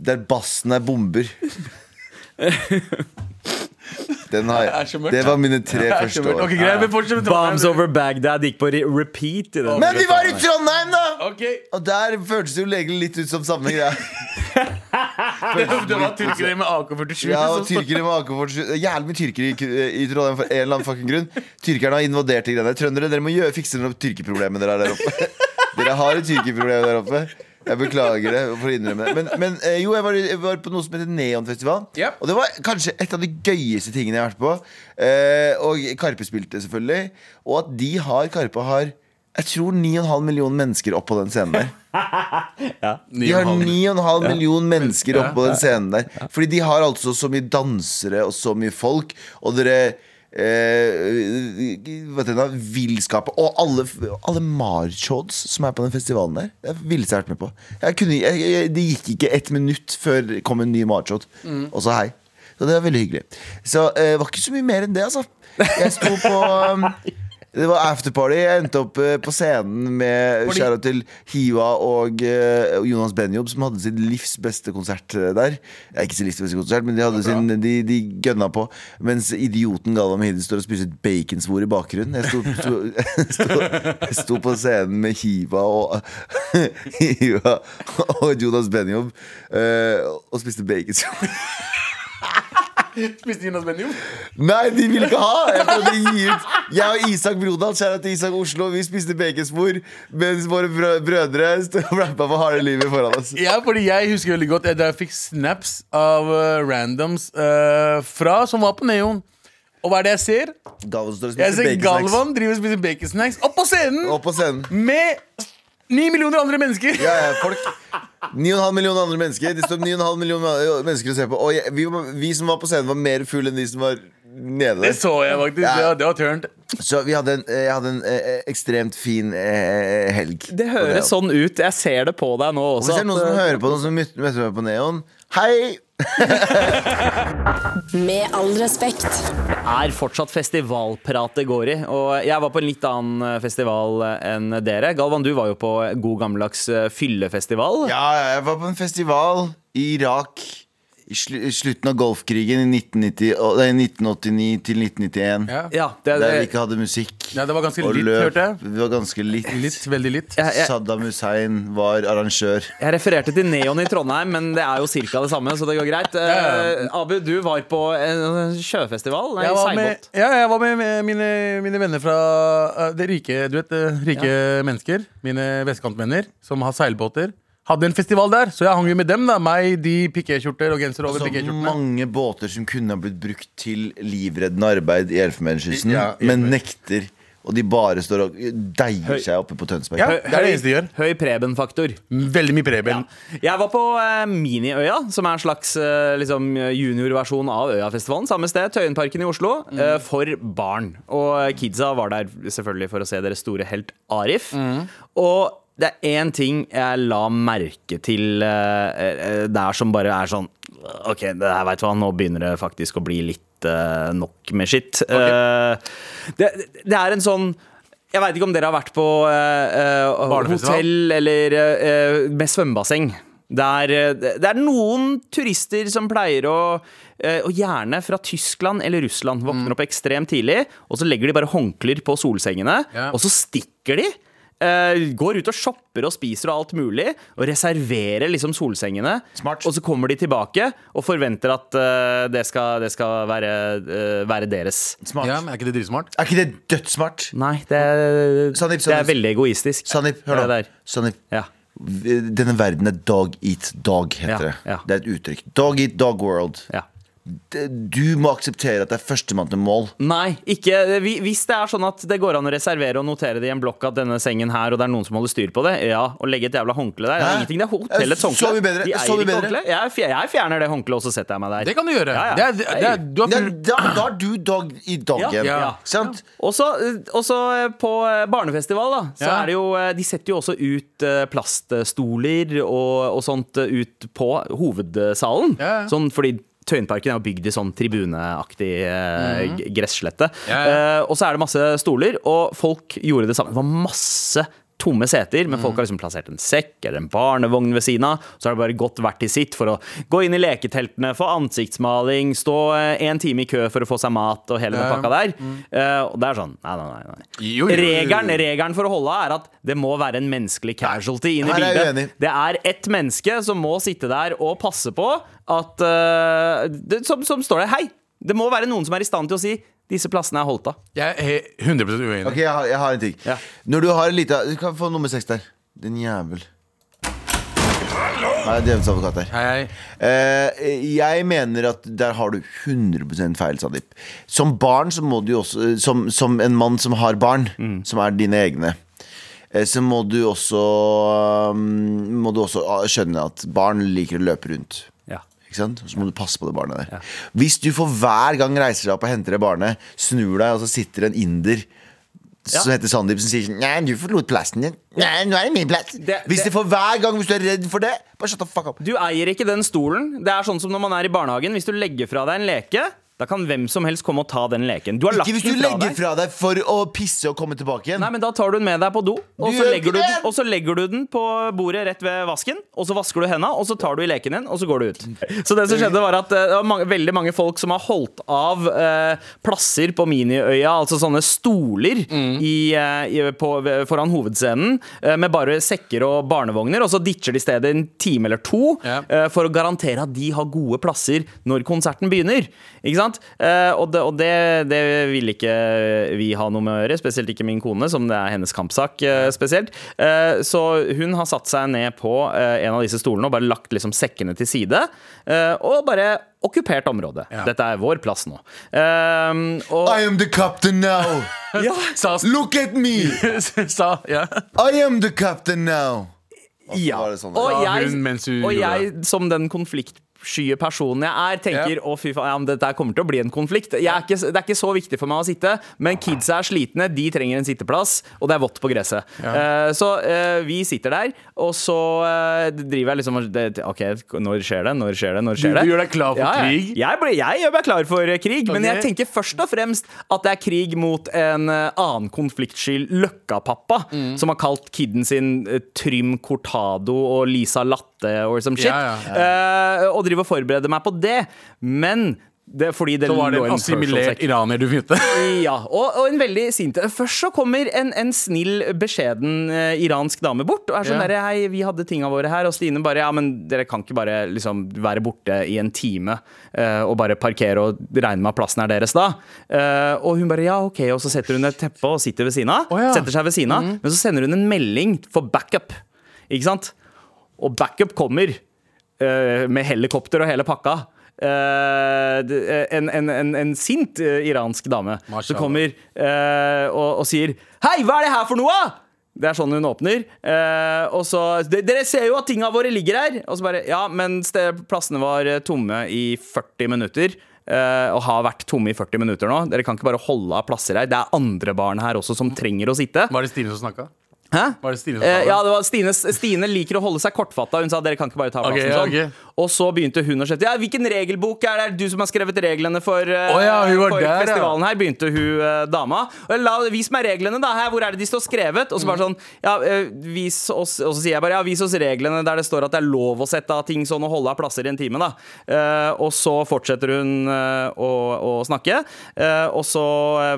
der bassen er bomber. Den har Det er så jeg. mørkt. Det var mine tre Det er første så mørkt. år. Ok, greit, vi fortsetter med Bombs Trondheim. over Bagdad gikk på re repeat. I den. Men vi var i Trondheim, da! Ok, Og der føltes det jo egentlig litt ut som samme greia. det, det var tyrkere med AK-47 Ja, og som- tyrkere med AK-47 Det er Jævlig mye tyrkere i, i Trondheim for en eller annen fucking grunn. Tyrkerne har invadert de greiene der. Trøndere, dere må gjøre, fikse noe tyrkeproblemet dere har der oppe. Dere har et tyrkeproblem der oppe. Jeg beklager det for å innrømme det. Men, men eh, jo, jeg var, jeg var på noe som heter Neonfestival. Ja. Og det var kanskje et av de gøyeste tingene jeg har vært på. Eh, og Karpe spilte, selvfølgelig. Og at de har Karpe har jeg tror 9,5 millioner mennesker opp på den scenen der. De har 9,5 million mennesker oppe på den scenen der. Fordi de har altså så mye dansere og så mye folk, og dere Eh, vet du, hva, villskapet Og alle, alle marshows som er på den festivalen der. Det er villeste jeg har vært med på. Jeg kunne, jeg, jeg, det gikk ikke ett minutt før det kom en ny marshow. Og så hei. Så det var veldig hyggelig. Så eh, det var ikke så mye mer enn det, altså. Jeg sto på um, det var afterparty. Jeg endte opp eh, på scenen med skjæra til Hiwa og eh, og Jonas Benjob, som hadde sitt livs beste konsert eh, der. Eh, Ikke sitt livs beste konsert, men de, hadde sin, de, de gønna på. Mens idioten Galvan Hidden står og spiser et baconsvor i bakgrunnen. Jeg sto, sto, sto, jeg sto på scenen med Hiwa og, Hiwa og Jonas Benjob eh, og spiste baconsvor. Spiste Jonas Benjum Nei, de ville ikke ha! Jeg prøvde å gi ut Jeg og Isak Brodal, kjære til Isak Oslo, vi spiste baconspor mens våre brø- brødre stod og rappa for harde livet foran oss. Ja, fordi jeg husker veldig godt eh, Da jeg fikk snaps av eh, randoms eh, Fra som var på Neon Og hva er det jeg ser? Galvan står og Jeg spiser ser baconsnacks. Galvan driver og spiser baconsnacks Opp på scenen Opp på scenen. Med 9 millioner andre mennesker Ja, ja, folk 9,5 millioner andre mennesker. Det står 9,5 millioner eh, mennesker å se på. Og jeg, vi, var- vi som var på scenen, var mer fulle enn de som var nede Det der. så jeg faktisk Ja. Det var, det var turnt Så vi hadde en, jeg hadde en eh, ekstremt fin eh, helg. Det høres sånn ut. Jeg ser det på deg nå Hvis også. det er noen som hører på, noen som møtte møtte meg på Neon, hei! Med all respekt. er fortsatt festivalprat det går i. Og jeg var på en litt annen eh, festival enn dere. Galvan, du var jo på god gammeldags eh, fyllefestival. Ja, ja, jeg var på en festival i Irak i slu- i slutten av Golfkrigen i 1990, å, nei, 1989 til 1991. Ja. Ja, det, Der vi det, ikke hadde musikk. Ja, det var ganske og litt, løp. hørte jeg. Det var ganske litt. Litt, veldig litt jeg, jeg, Saddam Hussein var arrangør. jeg refererte til Neon i Trondheim, men det er jo ca. det samme, så det går greit. Eh, Abu, du var på en sjøfestival? Nei, jeg var med, seilbåt. ja, jeg var med, med mine, mine venner fra eh, det rike Du vet, eh, rike mennesker. Mine vestkantvenner som har seilbåter. Hadde en festival der, så jeg hang jo med dem. da Meg, de pikéskjorter og genser over Så pikéskjortene. mange båter som kunne ha blitt brukt til livreddende arbeid i Elfenbenskysten, Ja, i men Elfenbenskysten. nekter. Og de bare står og deier seg oppe på Tønsberg. Ja. det er det eneste de gjør. Mm, Høy Preben-faktor. Veldig mye Preben. Jeg var på eh, Miniøya, som er en slags eh, liksom, juniorversjon av Øyafestivalen. Samme sted, Tøyenparken i Oslo, eh, for barn. Og eh, kidsa var der selvfølgelig for å se deres store helt Arif. Og det er én ting jeg la merke til eh, eh, der som bare er sånn OK, det her veit du hva, nå begynner det faktisk å bli litt eh, nok med skitt. det, det er en sånn jeg veit ikke om dere har vært på eh, eh, Barnefestival? hotell eller eh, med svømmebasseng. Der, eh, det er noen turister som pleier å eh, og gjerne fra Tyskland eller Russland. Våkner Mm. opp ekstremt tidlig, og så legger de bare håndklær på solsengene. Ja. Og så stikker de. eh, går ut og shopper og spiser og alt mulig. Og reserverer liksom solsengene. Smart. Og så kommer de tilbake og forventer at eh, det skal, det skal være, eh, være deres. Smart. Ja, men Er ikke det dritsmart? Er ikke det dødssmart? Nei, det er, det Sandeep, er Sandeep. veldig egoistisk. Sandeep, hør nå. Det der. Sandeep, Ja. Denne verden er dog eat dog, Ja, heter det. ja. Det er et uttrykk. Dog eat dog world. Ja. Det- Du må akseptere at det er førstemann til mål. Nei, ikke vi- Hvis det er sånn at det går an å reservere og notere det i en blokk at denne sengen her, og det er noen som holder styr på det, ja, og legge et jævla håndkle der, det er Hæ? ingenting. Det er hotellets Så mye håndkle. bedre, De eier så mye ikke bedre. håndkle. Jeg, fjer- jeg fjerner det håndkleet, og så setter jeg meg der. Det kan du gjøre. Ja, ja. Det er, det er, det er, du har Da, da, da er du dog eat dog Ja, igjen. ja. Sant? Og så på eh, barnefestival, da, så Ja. er det jo eh, De setter jo også ut eh, plaststoler og, og sånt eh, ut på hovedsalen. Ja, ja. Sånn fordi Tøyenparken er jo bygd i sånn tribuneaktig eh, g- gresslette. Mhm. Ja, ja. Eh, og så er det masse stoler, og folk gjorde det samme. Det var masse tomme seter, men folk har liksom plassert en sekk eller en barnevogn ved siden av. Så har det bare gått hvert til sitt for å gå inn i leketeltene, få ansiktsmaling, stå eh, en time i kø for å få seg mat og hele den Ja, ja. pakka der. Eh, og det er sånn Nei, nei, nei. nei. Jo, jo, jo, jo. Regelen, regelen for å holde av er at det må være en menneskelig casualty inn i Her er jeg bildet. uenig. Det er ett menneske som må sitte der og passe på at eh, det, som, som står der. Hei! Det må være noen som er i stand til å si 'disse plassene er holdt av'. Jeg er he- 100 uenig. Ok, jeg har, jeg har en ting. Ja. Når du har en lita Du kan få nummer seks der. Den jævel. Nei, djevelens advokat der. Hei, hei. Eh, jeg mener at der har du 100 feil, Sandeep. Som barn så må du jo også eh, Som, som en mann som har barn, Mm. som er dine egne. eh, Så må du også um, Må du også ah, skjønne at barn liker å løpe rundt. Ja. Ikke sant? Så må du passe på det barnet der. Hvis du for hver gang reiser deg opp og henter det barnet, snur deg, og så sitter en inder som Ja. heter Sandeep, som sier sånn, Nei, du forlot plassen din. Nei, nå er det min plass. Det- hvis det- det for hver gang Hvis du er redd for det, bare shut the fuck up. Du eier ikke den stolen. Det er sånn som når man er i barnehagen. Hvis du legger fra deg en leke, da kan hvem som helst komme og ta den leken. Du har lagt Ikke hvis du den fra legger deg. fra deg for å pisse og komme tilbake igjen. Nei, men Da tar du den med deg på do, og Du så, gjør legger ikke du den, det! og så legger du den på bordet rett ved vasken. Og så vasker du henda, og så tar du i leken din, og så går du ut. Så det som skjedde var at eh, det var mange, veldig mange folk som har holdt av eh, plasser på Miniøya, altså sånne stoler Mm. i, eh, i, på, ved- foran hovedscenen, eh, med bare sekker og barnevogner, og så ditcher de stedet en time eller to Ja. eh, for å garantere at de har gode plasser når konserten begynner. Ikke sant? Eh, og det, og det, det vil ikke vi ha noe med å gjøre, spesielt ikke min kone, som det er hennes kampsak eh, spesielt. Eh, så hun har satt seg ned på eh, en av disse stolene og bare lagt liksom sekkene til side. eh, og bare okkupert området. Ja. Dette er vår plass nå. Eh, og, I am the captain now. Sa, Look at me. sa ja. I am the captain now. Og så Ja. var det sånn. og Sa jeg, hun mens hun og gjorde jeg som den konfliktsky personen jeg er, tenker å fy faen, ja, men dette her kommer til å bli en konflikt. Jeg er ikke, det er ikke så viktig for meg å sitte, men kidsa er slitne, de trenger en sitteplass, og det er vått på gresset. Eh, så eh, vi sitter der, og så eh, driver jeg liksom og det, OK, når skjer det? Når skjer det? Når skjer Du- det? du gjør deg klar for krig? Jeg, ble, jeg gjør meg klar for eh, krig, men jeg Ok. tenker først og fremst at det er krig mot en eh, annen konfliktsky, Løkkapappa, Mm. som har kalt kiden sin eh, Trym Cortado og Lisa Latte or some shit. Ja, ja, Eh, og driver og forbereder meg på det. Men det, er fordi det Så var det lå en en Herschel-sekk. assimilert iraner du begynte. Ja, og, og en veldig sint Først så kommer en, en snill, beskjeden eh, iransk dame bort Og er sånn Ja. der, hei, vi hadde tingene våre her Og Stine bare, ja, men dere kan ikke bare liksom, være borte i en time eh, Og bare parkere og regne med at plassen er deres da Eh, Og hun bare, ja, ok Og så setter hun et teppe og sitter ved siden av Å, ja. Mhm. Setter seg ved siden av Men så sender hun en melding for backup Ikke sant? Og backup kommer eh, med helikopter og hele pakka. Eh, det- en, en, en, en sint eh, iransk dame som Mashallah. kommer eh, og, og sier Hei, hva er det her for noe? Det er sånn hun åpner. Eh, og så «De- Dere ser jo at tinga våre ligger her! Og så bare Ja, men sted- plassene var eh, tomme i 40 minutter. eh, og har vært tomme i 40 minutter nå. Dere kan ikke bare holde av plasser her. Det er andre barn her også som trenger å sitte. Var det Stine som snakka? Hæ? Var det Stine som sa Eh, det? ja, det var Stine, Stine liker å holde seg kortfatta. Hun sa dere kan ikke bare ta plassen Ok, ja, sånn. ok. Og så begynte hun å skjøtte. Ja, hvilken regelbok er det? Er det Du som har skrevet reglene for, eh, Å ja, hun var for der, ja. festivalen her, begynte hun eh, dama. Og la, vis meg reglene, da. Her, hvor er det de står skrevet? Og så Mm. bare sånn, ja, eh, vis oss Og så sier jeg bare ja, vis oss reglene der det står at det er lov å sette av ting sånn og holde av plasser i en time, da. Eh, og så fortsetter hun eh, å, å snakke. Eh, og så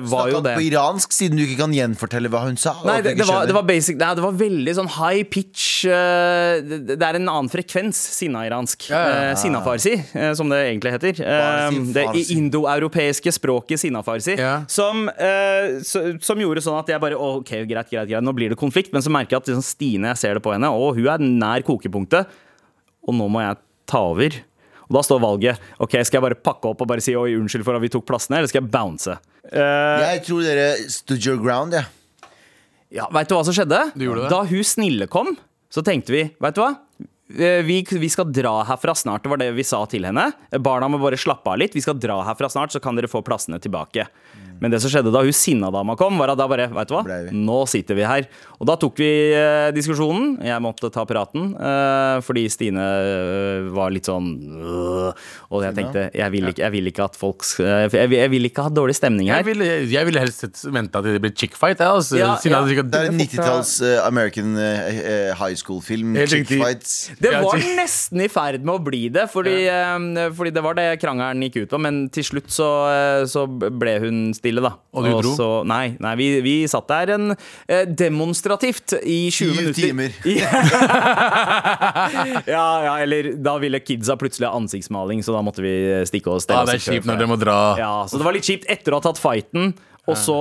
eh, var jo Snakket det på iransk, siden du ikke kan gjenfortelle hva hun sa. og Nei, at det, jeg det, ikke var, det skjønner. var basic Nei, det var veldig sånn high pitch eh, det, det er en annen frekvens sinna-iransk. Ja, ja, ja. Eh, Sinna-farsi, eh, som det egentlig heter. Eh, Farsi, det farsi. indoeuropeiske språket sinna-farsi. Ja. Som, eh, så- som gjorde sånn at jeg bare «Å, OK, greit, greit, greit, nå blir det konflikt. Men så merker jeg at liksom, Stine, jeg ser det på henne, og hun er nær kokepunktet. Og nå må jeg ta over. Og da står valget. Ok, Skal jeg bare pakke opp og bare si oi, unnskyld for at vi tok plassene, eller skal jeg bounce? Jeg tror dere stood your ground, jeg. Ja, Veit du hva som skjedde? Du gjorde det. Da hun snille kom, så tenkte vi Veit du hva? Eh, Vi, vi skal dra herfra snart. Det var det vi sa til henne. Barna må bare slappe av litt. Vi skal dra herfra snart, så kan dere få plassene tilbake. Men det som skjedde da hun sinnadama kom, var at da bare Vet du hva, Blei vi. nå sitter vi her. Og da tok vi eh, diskusjonen. Jeg måtte ta praten eh, fordi Stine eh, var litt sånn øh, Og jeg tenkte jeg vil ikke, jeg vil ikke at folk sk- eh, jeg, vil- jeg vil ikke ha dårlig stemning Jeg her. ville, jeg ville helst sett- venta til det ble chick fight. Jeg, altså. Ja, Siden ja. jeg sikkert- Det er en 90-talls eh, American eh, eh, high school-film. Helt Chick riktig. fights. Det Ja, var til- nesten i ferd med å bli det, fordi, eh, fordi det var det krangelen gikk ut på. Men til slutt så, eh, så ble hun stille, da. Og du dro? Så, nei, nei vi, vi satt der en, eh, demonstrativt i 20 Syv minutter. timer. ja, ja, eller da ville kidsa plutselig ha ansiktsmaling, så da måtte vi stikke og stelle ah, altså, det oss er i kø for kjipt når det. dere må dra. ja, Så det var litt kjipt etter å ha tatt fighten, og så,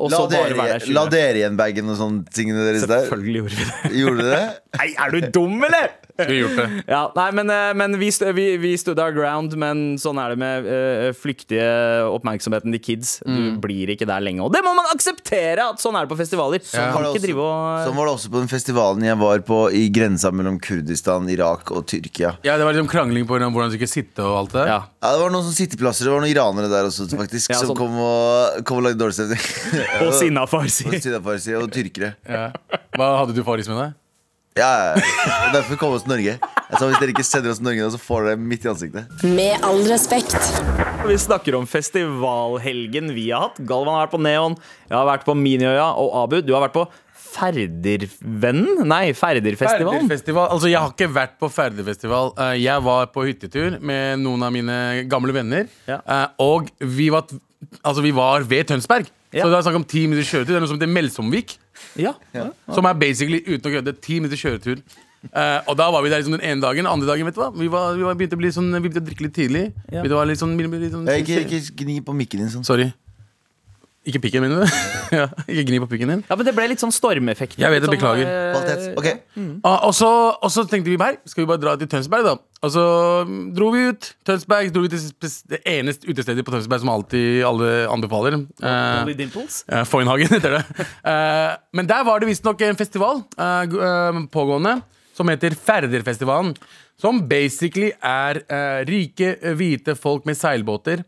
og La så bare dere, være der 20. la dere igjen bagen og sånne tingene deres der. Selvfølgelig gjorde vi det. Gjorde dere det? Nei, er du dum, eller? Skulle gjort det. Ja, nei, men, eh, men vi, stu- vi, vi stood our ground, men sånn er det med eh, flyktige oppmerksomheten til kids. Du blir ikke der lenge. Og det må man akseptere! at Sånn er det på festivaler. Sånn Man var, kan det ikke drive også, sånn og var det også på den festivalen jeg var på i grensa mellom Kurdistan, Irak og Tyrkia. Ja, det var liksom krangling på hvordan du skulle sitte og alt det. ja. Ja, Det var noen sånne sitteplasser, det var noen iranere der også, faktisk, Ja, som sånn. kom og, kom og lagde dårlig stemning. Og sinna farsi. Og sydafarsi og tyrkere. Ja. Hva Hadde du faris med deg? Ja, ja, ja. Og derfor kom vi oss til Norge. Jeg sa hvis dere ikke sender oss til Norge, nå, så får dere det midt i ansiktet. Med all respekt. Vi snakker om festivalhelgen vi har hatt. Galvan har vært på Neon, jeg har vært på Miniøya og Abu. Du har vært på Ferdervennen? Nei, Ferderfestivalen. Ferderfestival. Altså, jeg har ikke vært på Ferderfestival. Eh, Jeg var på hyttetur med noen av mine gamle venner. Ja. Eh, Og vi var, altså, vi var ved Tønsberg. Ja. Så det er snakk om ti minutter kjøretur. Det er noe som heter Melsomvik. Ja. Som er basically uten å kødde ti minutter kjøretur. Eh, og da var vi der liksom den ene dagen. Den andre dagen, vet du hva? Vi, var, vi, var begynte, å bli sånn, vi begynte å drikke litt tidlig. Ja. Vi var litt sånn, litt sånn Eh, Ikke, ikke gni på mikken din sånn. Sorry. Ikke pikken min, mener du? ja, ikke gni på pikken din. ja, men det ble litt sånn stormeffekt. Jeg vet det, Sånn, beklager. eh, Kvalitet. Ok, Ah, Og så, og så tenkte vi her, skal vi bare dra til Tønsberg, da. Og så mm, dro vi ut. Tønsberg dro vi til spes- det eneste utestedet på Tønsberg som alltid alle anbefaler. Eh, Only Dimples. eh, Foynhagen heter det. Eh, men der var det visstnok en festival eh, g- eh, pågående som heter Færderfestivalen. Som basically er eh, rike, eh, hvite folk med seilbåter.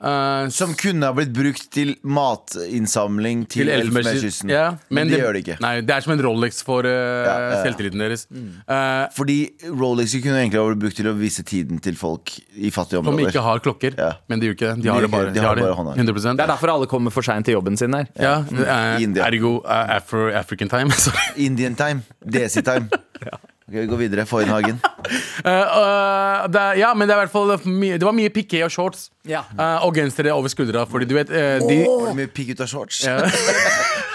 eh, Som kunne ha blitt brukt til matinnsamling til, til Elfenbenskysten. Elfenbenskysten. Ja, men, det gjør det ikke. Nei, det er som en Rolex for eh, ja, Mm. ja. selvtilliten deres. Eh, Fordi Rolex kunne egentlig ha blitt brukt til å vise tiden til folk i fattige Som områder. ikke har klokker, Ja. men de gjør ikke det. De De har det gjør bare. ikke det. De har det. hånda. 100 Det er derfor alle kommer for seint til jobben sin her. ja, det I er, Mm. India. Ergo eh, Afro, African time. Sorry. Indian time. DC time. Ok, Vi går videre. Foynhagen. Eh, eh, det er, ja, men det er i hvert fall mye, Det var mye piké og shorts. Ja. Eh, og gensere over skuldra, fordi du vet eh, de Var det mye pikk ut av shorts? Ja.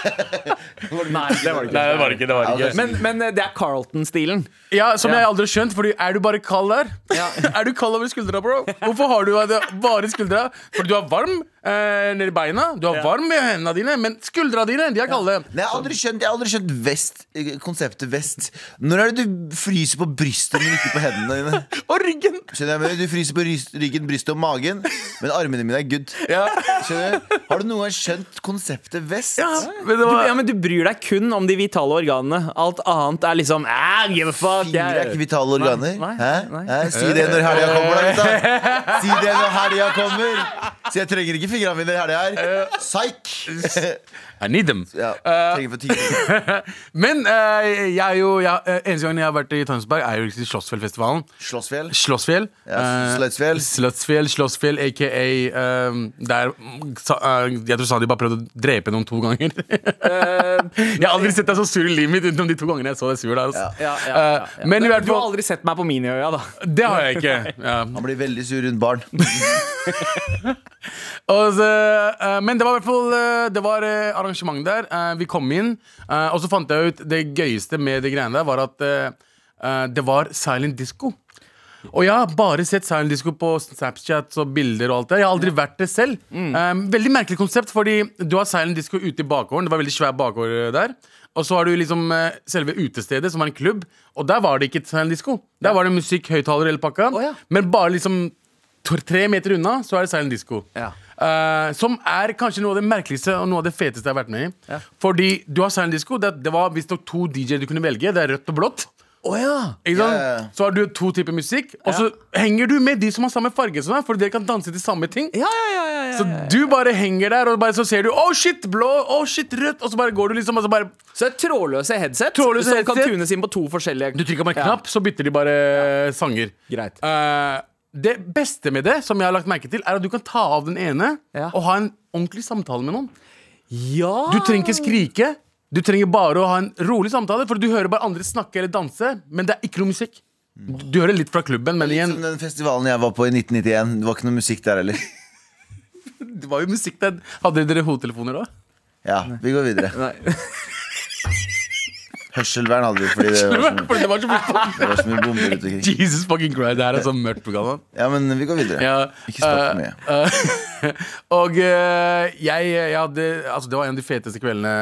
Nei, det var det ikke. Nei, det var ikke, det var ikke. Men, men eh, det er Carlton-stilen. Ja, Som jeg aldri har skjønt, Fordi er du bare kald der? er du kald over skuldra, bro? Hvorfor har du det bare i skuldra? Fordi du er varm eh, nedi beina, du er varm i hendene dine, men skuldra dine, de er kalde. Nei, jeg har aldri skjønt, jeg har aldri skjønt vest, konseptet vest. Når er det du fryser på brystet, men ikke på hendene dine? Og ryggen! Skjønner jeg, men Du fryser på rys- ryggen, brystet og magen, men armene mine er good. Skjønner du? Har du noen gang skjønt konseptet vest? men det Du, var, ja, men du bryr deg kun om de vitale organene. Alt annet er liksom "Ah, give a fuck, Fingre er ikke jeg. vitale organer. Nei, nei, Hæ? nei. Hæ? Si det når helga kommer, da, gutta. Si det når helga kommer. Så jeg trenger ikke fingrene mine i helga her. Psyk! I need them. Ja, trenger for tid. Men eh, jeg er jo, jeg, eh, eneste gangen jeg har vært i Tønsberg, er jo i Slottsfjellfestivalen. Slåssfjell. Slottsfjell. Ja, eh, Slottsfjell. Slottsfjell, Slottsfjell, aka eh, Der sa, eh, Jeg tror Sadi bare prøvde å drepe noen to ganger. Eh, jeg har aldri sett deg så sur i livet mitt utenom de to gangene jeg så deg sur der. Altså. Ja, ja, ja, ja. Eh, men i hvert Du har fall aldri sett meg på Miniøya, da. Det har jeg ikke. Ja. Han blir veldig sur rundt barn. Og så, eh, men det var i hvert fall eh, Det var eh, arrangement der. Eh, vi kom inn, eh, og så fant jeg ut det gøyeste med de greiene der, var at eh, eh, det var silent disco. Og jeg har bare sett silent disco på Snapchat og bilder. og alt det Jeg har aldri vært det selv. Eh, veldig merkelig konsept, fordi du har silent disco ute i bakgården. Det var veldig svær bakgård eh, der. Og så har du liksom eh, selve utestedet, som er en klubb. Og der var det ikke silent disco. Der var det musikk, høyttalere, hele pakka. Å, ja. Men bare liksom to- tre meter unna så er det silent disco. Ja. Eh, som er kanskje noe av det merkeligste og noe av det feteste jeg har vært med i. Ja. Fordi du har silent disco. Det, det var visstnok to DJ-er du kunne velge. Det er rødt og blått. Å ja! Ikke sant? Ja, ja, ja. Så har du to typer musikk, og så henger du med de som har samme farge som deg, for dere kan danse til samme ting. Ja, ja, ja, ja, ja. Så du bare henger der, og bare, så ser du Å, shit, blå! Å, shit, rødt! Og så bare går du liksom, og så bare Så det er trådløse headset Trådløse som kan headset. tunes inn på to forskjellige Du trykker på en Ja. knapp, så bytter de bare sanger. Greit. Eh, det beste med det, som jeg har lagt merke til, er at du kan ta av den ene Ja. og ha en ordentlig samtale med noen. Ja! Du trenger ikke skrike. Du trenger bare å ha en rolig samtale, for du hører bare andre snakke eller danse, men det er ikke noe musikk. Du hører Mm. litt fra klubben, men igjen Som den festivalen jeg var på i 1991. Det var ikke noe musikk der heller. sånn, Det var jo musikk der. Hadde dere hodetelefoner da? Ja, vi går videre. Nei. Hørselvern hadde vi, fordi det var så mye, Fordi det var så mye det var så mye bomber rundt omkring. Jesus fucking Christ, det her er så mørkt program. Ja, men vi går videre. Ja, Ikke snakk for mye. eh, og eh, jeg, jeg hadde Altså, det var en av de feteste kveldene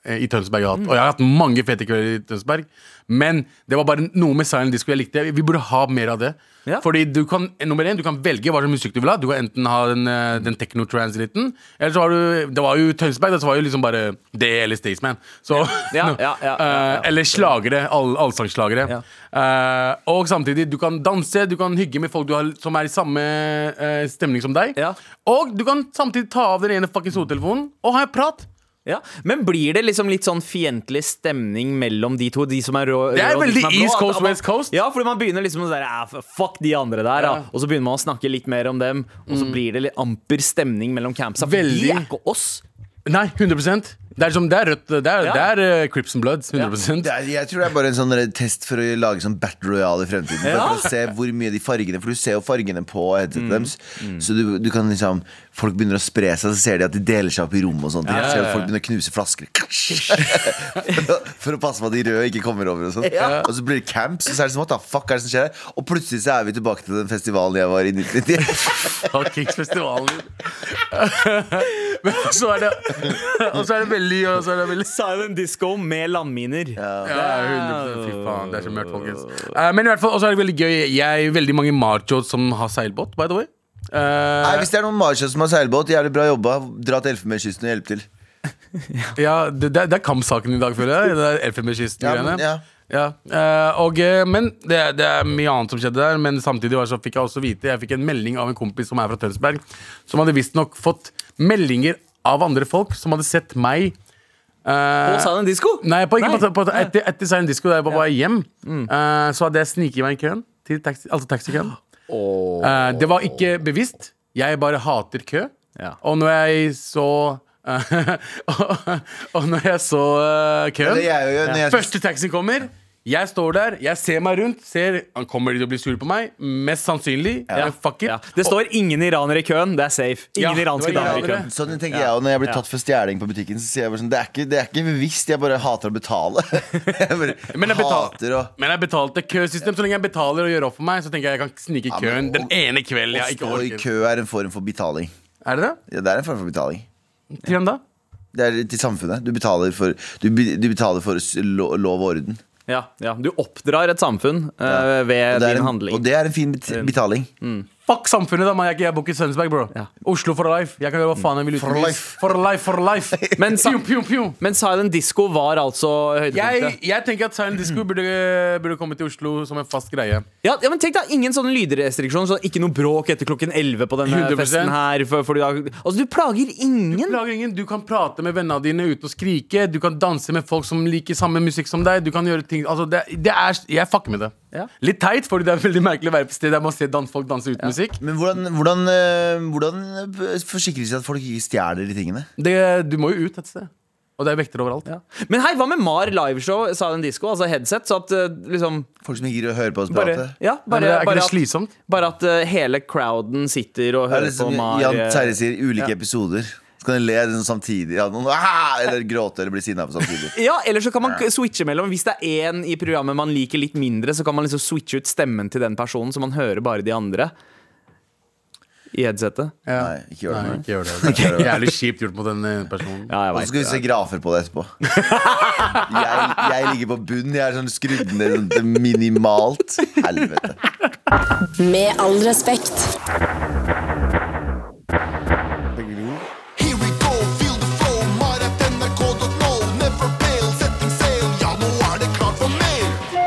eh, i Tønsberg jeg har hatt. Og jeg har hatt mange fete kvelder i Tønsberg, men det var bare noe med silent disco jeg likte. Vi burde ha mer av det. Ja. Fordi du kan, eh, nummer én, du kan velge hva slags musikk du vil ha. Du kan enten ha den, eh, den techno-transliten, eller så har du Det var jo Tønsberg, da, så var jo liksom bare det eller Staysman. Så Ja, ja, ja, ja, ja. Eh, Eller slagere. All, allsangslagere. Ja. Eh, og samtidig, du kan danse, du kan hygge med folk du har, som er i samme eh, stemning som deg. Ja. Og du kan samtidig ta av den ene fuckings hodetelefonen og ha en prat. Ja, Men blir det liksom litt sånn fiendtlig stemning mellom de to? De som er rå, Det er rød og de veldig som er blå, East at- Coast, at man- West Coast. Ja, fordi man begynner liksom å sånn der, "Ah, Fuck de andre der, da. Ja. Mm. Og så begynner man å snakke litt mer om dem. Og så blir det litt amper stemning mellom campsa. For Veldig. de er ikke oss. Nei, 100 Det er, som, det er rødt. Det er, Ja. det er eh, Crips and Bloods. 100 Det er, jeg tror det er bare en sånn test for å lage sånn Battle Royale i fremtiden. Bare For å se hvor mye de fargene For du ser jo fargene på Mm. headsetet deres. Så du, du kan liksom Folk begynner å spre seg, så ser de at de deler seg opp i rom og sånt. Ja, ja, Så ser du ja. folk begynner å knuse flasker. for, å, for å passe på at de røde ikke kommer over og sånn. Og så blir det camps, og så er det sånn What the fuck er det som skjer her? Og plutselig så er vi tilbake til den festivalen jeg var i 1991. Kicksfestivalen. Men så er det Og så er det veldig Og så er det veldig Silent disco med landminer. Ja. Ja, 100% Fy faen, det er så mørkt, folkens. Eh, men i hvert fall, også er det veldig gøy. Jeg er veldig mange machos som har seilbåt, by the way. Eh, Nei, Hvis det er noen Marsha som har seilbåt, jævlig bra jobba. Dra til Elfenbenskysten og hjelp til. ja, det, det er- det er kampsaken i dag, føler jeg. Det er Ja, Elfenbenskysten-greiene. men, ja. Ja, eh, og, eh, men det, det er mye annet som skjedde der. Men samtidig var det så fikk jeg også vite Jeg fikk en melding av en kompis som er fra Tønsberg, som hadde visstnok fått meldinger av andre folk som hadde sett meg eh, Og silent disco? Nei, på, ikke Nei. Mm. På, på, etter, etter Silent Disco, da jeg var på vei hjem, eh, så hadde jeg sniket meg i køen. Til taxi, altså taxikøen. Eh, det var ikke bevisst. Jeg bare hater kø. Ja. Og når jeg så eh, Og når jeg så eh, køen Det jeg gjør når jeg Første taxi kommer jeg står der, jeg ser meg rundt ser, Han kommer til å bli sur på meg Mest sannsynlig, men fuck it Ja. Det står ingen iranere i køen. Det er safe. Ingen Ja, iranske det var damer i iranere. køen. Sånn tenker jeg, og Når jeg blir tatt for stjeling på butikken, Så sier jeg bare sånn Det er ikke, det er ikke bevisst, jeg bare hater å betale. jeg bare Men jeg betal- hater å Men jeg betalte køsystem Så lenge jeg betaler og gjør opp for meg Så tenker jeg jeg kan snike i Ja, køen men- Den ene kvelden Å jeg ikke stå i orker kø er en form for betaling. Er det det? Ja, det er en form for betaling. Til hvem da? Det er til samfunnet. Du betaler for, du, be- du betaler for s- lo, lov og orden. Ja, ja. Du oppdrar et samfunn eh, Og ved det, er din en, handling. og det er en fin bet betaling. Fuck samfunnet da, man jeg, jeg bor ikke i Sønsberg, bro Ja. Oslo for life Jeg kan gjøre hva faen jeg vil For uten lys. life. For life, for life Men sa- Pju, pju, pju Men silent disco var altså høydepunktet. jeg, jeg tenker at Silent Disco burde, burde komme til Oslo Som en fast greie Ja, ja, men tenk deg, Ingen sånne lydrestriksjoner. Så ikke noe bråk etter klokken 11 på denne 100%. festen her. For, for, altså, du plager Du ingen. plager ingen. Du kan prate med vennene dine uten å skrike. Du kan danse med folk som liker samme musikk som deg. Du kan gjøre ting Altså, det, det er Jeg fucker med det. Ja. Litt teit, fordi det er veldig merkelig å være på sted der man ser dans, folk danse uten musikk. Men hvordan, hvordan, eh, hvordan eh, forsikrer de seg at folk ikke stjeler de tingene? Det, du må jo ut et sted. Og det er vektere overalt. Ja. Men hei, hva med Mar liveshow, sa den disco, altså headset? Så at eh, liksom Folk som ikke gidder å høre på oss bare, prate. ja, Men bare, det er ikke bare, det at, slitsomt? bare at eh, hele crowden sitter og Det er hører liksom på Mar. Jan eh, Terje sier ulike episoder. Så kan de le sånn samtidig. Ja, noen, «Ah!» eller gråte eller bli sinna på samtidig. ja, eller så kan man k- switche mellom. Hvis det er én i programmet man liker litt mindre, så kan man liksom switche ut stemmen til den personen, så man hører bare de andre i headsetet. Ja. Nei, ikke gjør det. Nei, ikke gjør det. Det er jævlig kjipt gjort mot den eh, personen. Ja, jeg Og så vet skal vi se grafer på det etterpå. Jeg, jeg ligger på bunnen. Jeg er sånn skrudd ned sånn til minimalt. Helvete. Med all respekt. Here we go, feel the flow, mar at nrk.no. Never fail, setting sail, ja, nå er det klart for mer. ikke.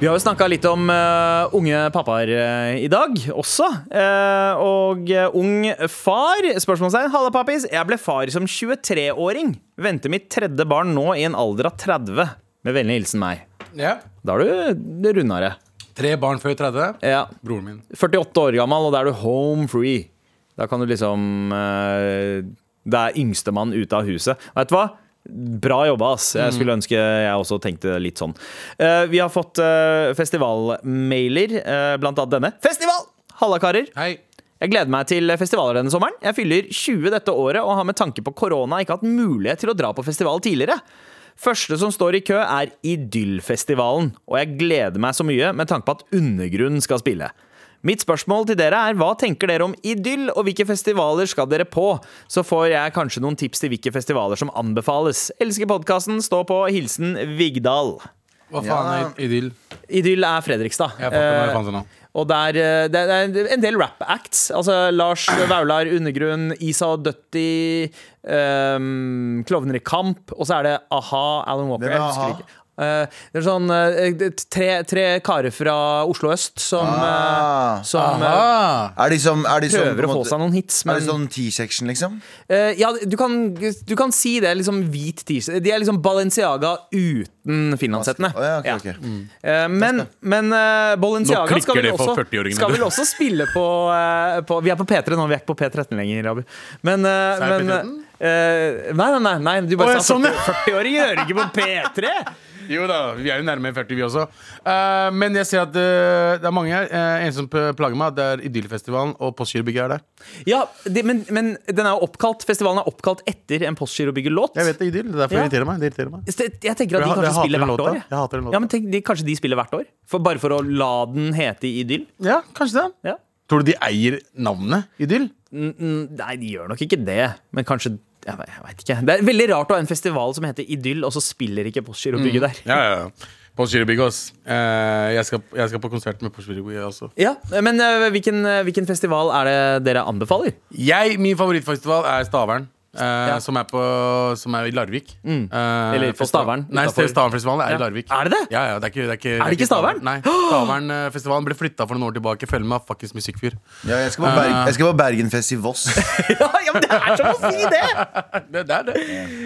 Vi har jo snakka litt om eh, unge pappaer eh, i dag også. Eh, og eh, ung far? Spørsmålstegn. Halla, pappis. Jeg ble far som 23-åring. Venter mitt tredje barn nå i en alder av 30. Med vennlig hilsen meg. Ja. Da er du rundere. Tre barn før 30. Ja. Broren min. 48 år gammel, og da er du home free. Da kan du liksom eh, Det er yngstemann ute av huset. Vet du hva? Bra jobba, ass. Jeg skulle ønske jeg også tenkte litt sånn. Eh, vi har fått eh, festivalmailer, eh, blant annet denne. Festival! Halla, karer. Hei. Jeg gleder meg til festivaler denne sommeren. Jeg fyller 20 dette året og har med tanke på korona ikke hatt mulighet til å dra på festival tidligere. Første som står i kø, er Idyllfestivalen, og jeg gleder meg så mye med tanke på at Undergrunn skal spille. Mitt spørsmål til dere er hva tenker dere om idyll, og hvilke festivaler skal dere på? Så får jeg kanskje noen tips til hvilke festivaler som anbefales. Elsker podkasten, stå på. Hilsen Vigdal. Hva faen er idyll? Idyll er Fredrikstad. Jeg fatter hva jeg fant det nå. Og der, eh, det er det er en del rap-acts. Altså Lars Vaular, Undergrunn, Isa og Døtti, um, Klovner i kamp. Og så er det a-ha, Alan Walker. Hvem er Jeg husker a-ha? ikke. Eh, det er sånn eh, det- tre, tre karer fra Oslo øst som, eh, som eh, Ah. Er de som, er de Ah. som prøver på å en få måte- seg noen hits. Men, Er det sånn T-section, liksom? eh, ja, du kan, du kan si det. Liksom hvit t-shirt. De er liksom Balenciaga uten finlandshettene. Å, ja, ok, Ja. ok. Eh, Men, men eh, Balenciaga Nå skal klikker vel, det for også, 40-åringene. skal vel også spille på, eh, på Vi er på P3 nå, vi er ikke på P13 lenger, Abu. Men, eh, Så er det men eh, nei, nei, nei, nei, du Å, bare ja, sa sånn, ja. 40 40-åringer hører ikke på P3! Jo da, vi er jo nærme 40 vi også. Eh, men jeg ser at eh, det er mange her. Eh, en som p- plager meg, det er Idyllfestivalen og Postgirobygget er der. Ja, det, men, men den er jo oppkalt festivalen er oppkalt etter en Postgirobygget-låt. Jeg vet det, Idyll. Det er derfor Ja. det irriterer meg. Det irriterer meg. Så Jeg jeg tenker at Jeg de ha- jeg kanskje hater spiller den hvert låta. år. Jeg hater den låta. Ja, men tenk, de, Kanskje de spiller hvert år? For, bare for å la den hete Idyll? Ja, kanskje det. Ja. Tror du de eier navnet Idyll? N- n- Nei, de gjør nok ikke det, men kanskje jeg vet, jeg vet ikke. Det er veldig rart å ha en festival som heter Idyll, og så spiller ikke Postgirobygget der. Ja, ja, ja. Postgirobygget, ass. Eh, jeg, skal, jeg skal på konsert med Postgirobygget også. Ja, Men eh, hvilken, hvilken festival er det dere anbefaler? Jeg, min favorittfestival er Stavern. eh, som, er på, som er i Larvik. Eh, Mm. Eller på Stavern, Nei, utenfor- Stavernfestivalen er Ja. i Larvik. Er det det? Ja, ja, det er ikke, det er ikke, det ikke Stavern? Nei. Stavernfestivalen ble flytta for noen år tilbake. Følg med, fuckings musikkfyr. Ja, jeg skal på, Berg jeg skal på Bergenfest i Voss. ja, men det er som å si det! Det, det er det.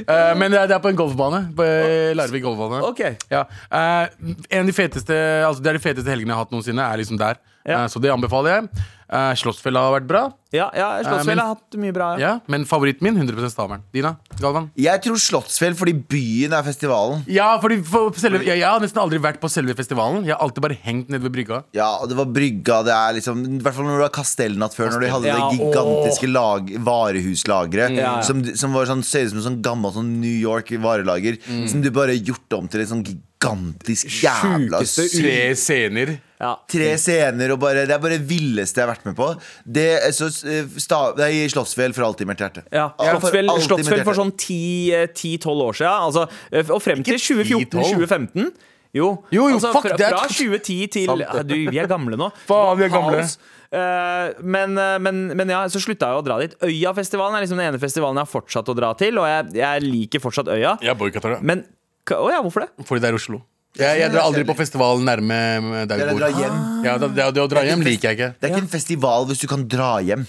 Eh, men det er, det er på en golfbane. På eh, Larvik golfbane. Ok. Ja. Eh, en av de feteste altså Det er de feteste helgene jeg har hatt noensinne. Er liksom der Ja. Eh, Så det anbefaler jeg. Eh, Slottsfjella har vært bra. Ja, ja Slottsfjell har hatt mye bra. Ja. Men favoritten min 100 Stavern. Dina? Galvan? Jeg tror Slottsfjell fordi byen er festivalen. Ja, fordi for selve, jeg, jeg har nesten aldri vært på selve festivalen. Jeg har alltid bare hengt nede ved brygga. Ja, og det var brygga, det er liksom I hvert fall når du har Kastellnatt før, når de hadde Ja, Mm. det gigantiske lag, varehuslageret. ja. Som, som var sånn, ser ut som en sånn gammel sånn New York varelager. Mm. Som du bare har gjort om til et sånn gigantisk jævla Sjukeste sykt Tre scener. Ja. Tre scener og bare Det er bare det villeste jeg har vært med på. Det er så eh, sta, Det er i Slottsfjell for alltid med et hjerte. Ja, Al- for Slottsfjell, alltid med et Slottsfjell for hjerte. sånn 10-12 år siden. Altså, eh, og frem til 2014-2015. Jo, altså, Jo, jo, fuck, fra, det er- fra 2010 til Sant. ja, du, Vi er gamle nå. Faen, vi er gamle. Kaos. Eh, men, eh, men, men ja, så slutta jeg å dra dit. Øyafestivalen er liksom den ene festivalen jeg har fortsatt å dra til, og jeg, jeg liker fortsatt Øya. Jeg boikotter det. Men ka- Å ja, hvorfor det? Fordi det er Oslo. Jeg, jeg drar aldri på festival nærme eh, der Dere vi drar bor. hjem. Ja, det, det, det å dra hjem liker jeg ikke. Det er ikke en festival hvis du kan dra hjem.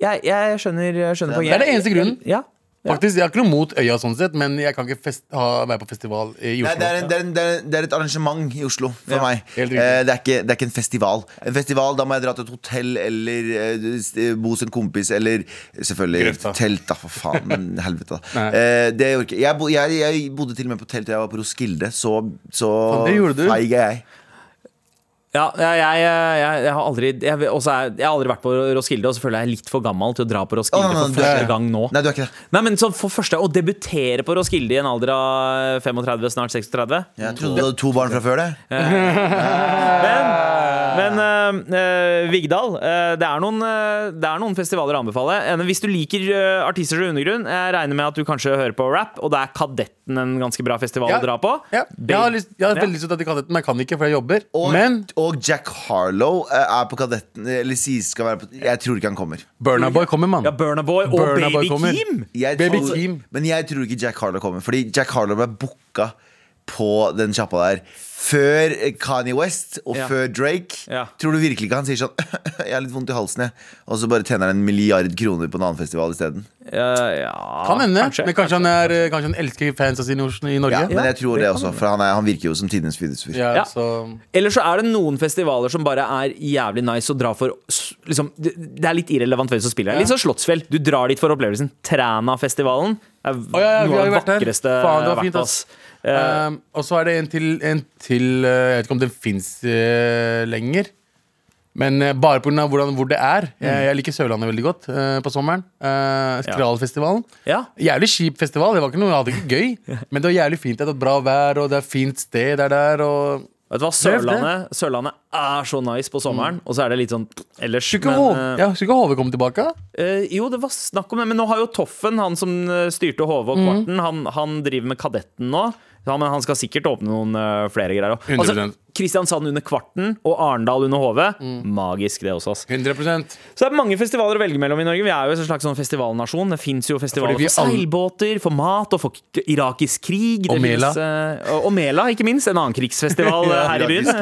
Jeg, jeg skjønner, jeg skjønner poenget. Det er den eneste grunnen. Ja. Faktisk, Jeg har ikke noe mot øya, sånn sett men jeg kan ikke fest ha, være på festival i Nei, Oslo. det, er en, det, er en, det, er en, det er et arrangement i Oslo for meg. Eh, helt det, riktig. er ikke, det er ikke en festival. En festival, Da må jeg dra til et hotell eller eh, s- eh, bo hos en kompis eller selvfølgelig Grøfta. telt. da, For faen, men helvete, da. Nei. Eh, det gjorde ikke jeg, bo, jeg. Jeg bodde til og med på telt da jeg var på Roskilde, så, så Faen, det gjorde du. feig er jeg. Ja, jeg, jeg, eh, jeg, jeg har aldri jeg, vil- også er, jeg har aldri vært på Roskilde, og så føler jeg er litt for gammel til å dra på Roskilde Å, nei, nei, for første det- gang nå. Nei, du er ikke det. Nei, men sånn for første Å debutere på Roskilde i en alder av 35, snart 36 Jeg trodde du hadde to barn fra før det. Men, men eh, eh, Vigdal, eh, det, er noen, eh, det er noen festivaler å anbefale En- Hvis du liker eh, artister og undergrunn Jeg regner med at du kanskje hører på rap Og det er Kadetten en ganske bra festival Ja. å dra på Ja. Jeg har, lyst, jeg har Ja. veldig lyst til å dra til Kadetten, men jeg kan ikke, for jeg jobber. Og, men og Jack Harlow eh, er på Kadetten. Eller sies skal være på Jeg tror ikke han kommer. Burna Boy kommer, mann. Ja, Burna Boy og Burna Boy Baby kommer. Kim Jeg Baby tror, Keem. Men jeg tror ikke Jack Harlow kommer. Fordi Jack Harlow ble booka på den sjappa der. Før Kanye West og Ja. før Drake. Ja. Tror du virkelig ikke han sier sånn 'Jeg har litt vondt i halsen', jeg. Og så bare tjener han en milliard kroner på en annen festival isteden. Eh, Kan hende. Men kanskje han, er, eh, kanskje han elsker fansa sine i Norge. Ja, men jeg tror det også, for han, er, han virker jo som tidenes fidesfyr. Ja, Ja. så- Eller så er det noen festivaler som bare er jævlig nice å dra for s- liksom, Det det er litt irrelevant hvem som spiller her. Litt sånn Slottsfjell. Du drar dit for opplevelsen. Trænafestivalen er ja, ja, vi noe har av jo det vært der. vakreste Faen, det var jeg har fint, vært på, ass. ass. Eh, Um, og så er det en til, en til eh, Jeg vet ikke om den fins lenger. Men eh, bare pga. hvor det er. Mm. Jeg, jeg liker Sørlandet veldig godt eh, på sommeren. Uh, Skralfestivalen. Ja. Jævlig kjip festival. Det var ikke noe, jeg hadde ikke gøy, men det var jævlig fint. Det er bra vær, og det er fint sted der, der og Vet du hva, Sørlandet, Sørlandet er så nice på sommeren, Mm. og så er det litt sånn ellers. Skulle ikke Hov- eh, ja, skulle ikke HV komme tilbake? Eh, jo, det var snakk om det, men nå har jo Toffen, han som eh, styrte HV og Kvarten, han, han driver med Kadetten nå. Ja, men han skal sikkert åpne noen eh, flere greier. også. 100%. Kristiansand under Kvarten og Arendal under HV. Magisk, det også. ass. 100 Så det er mange festivaler å velge mellom i Norge. Vi er jo en slags sånn festivalnasjon. Det fins jo festivaler Fordi vi for seilbåter, for mat og for k- irakisk krig. Det Og Mela. finnes, eh, og- og Mela, ikke minst. En annen krigsfestival eh, her i byen.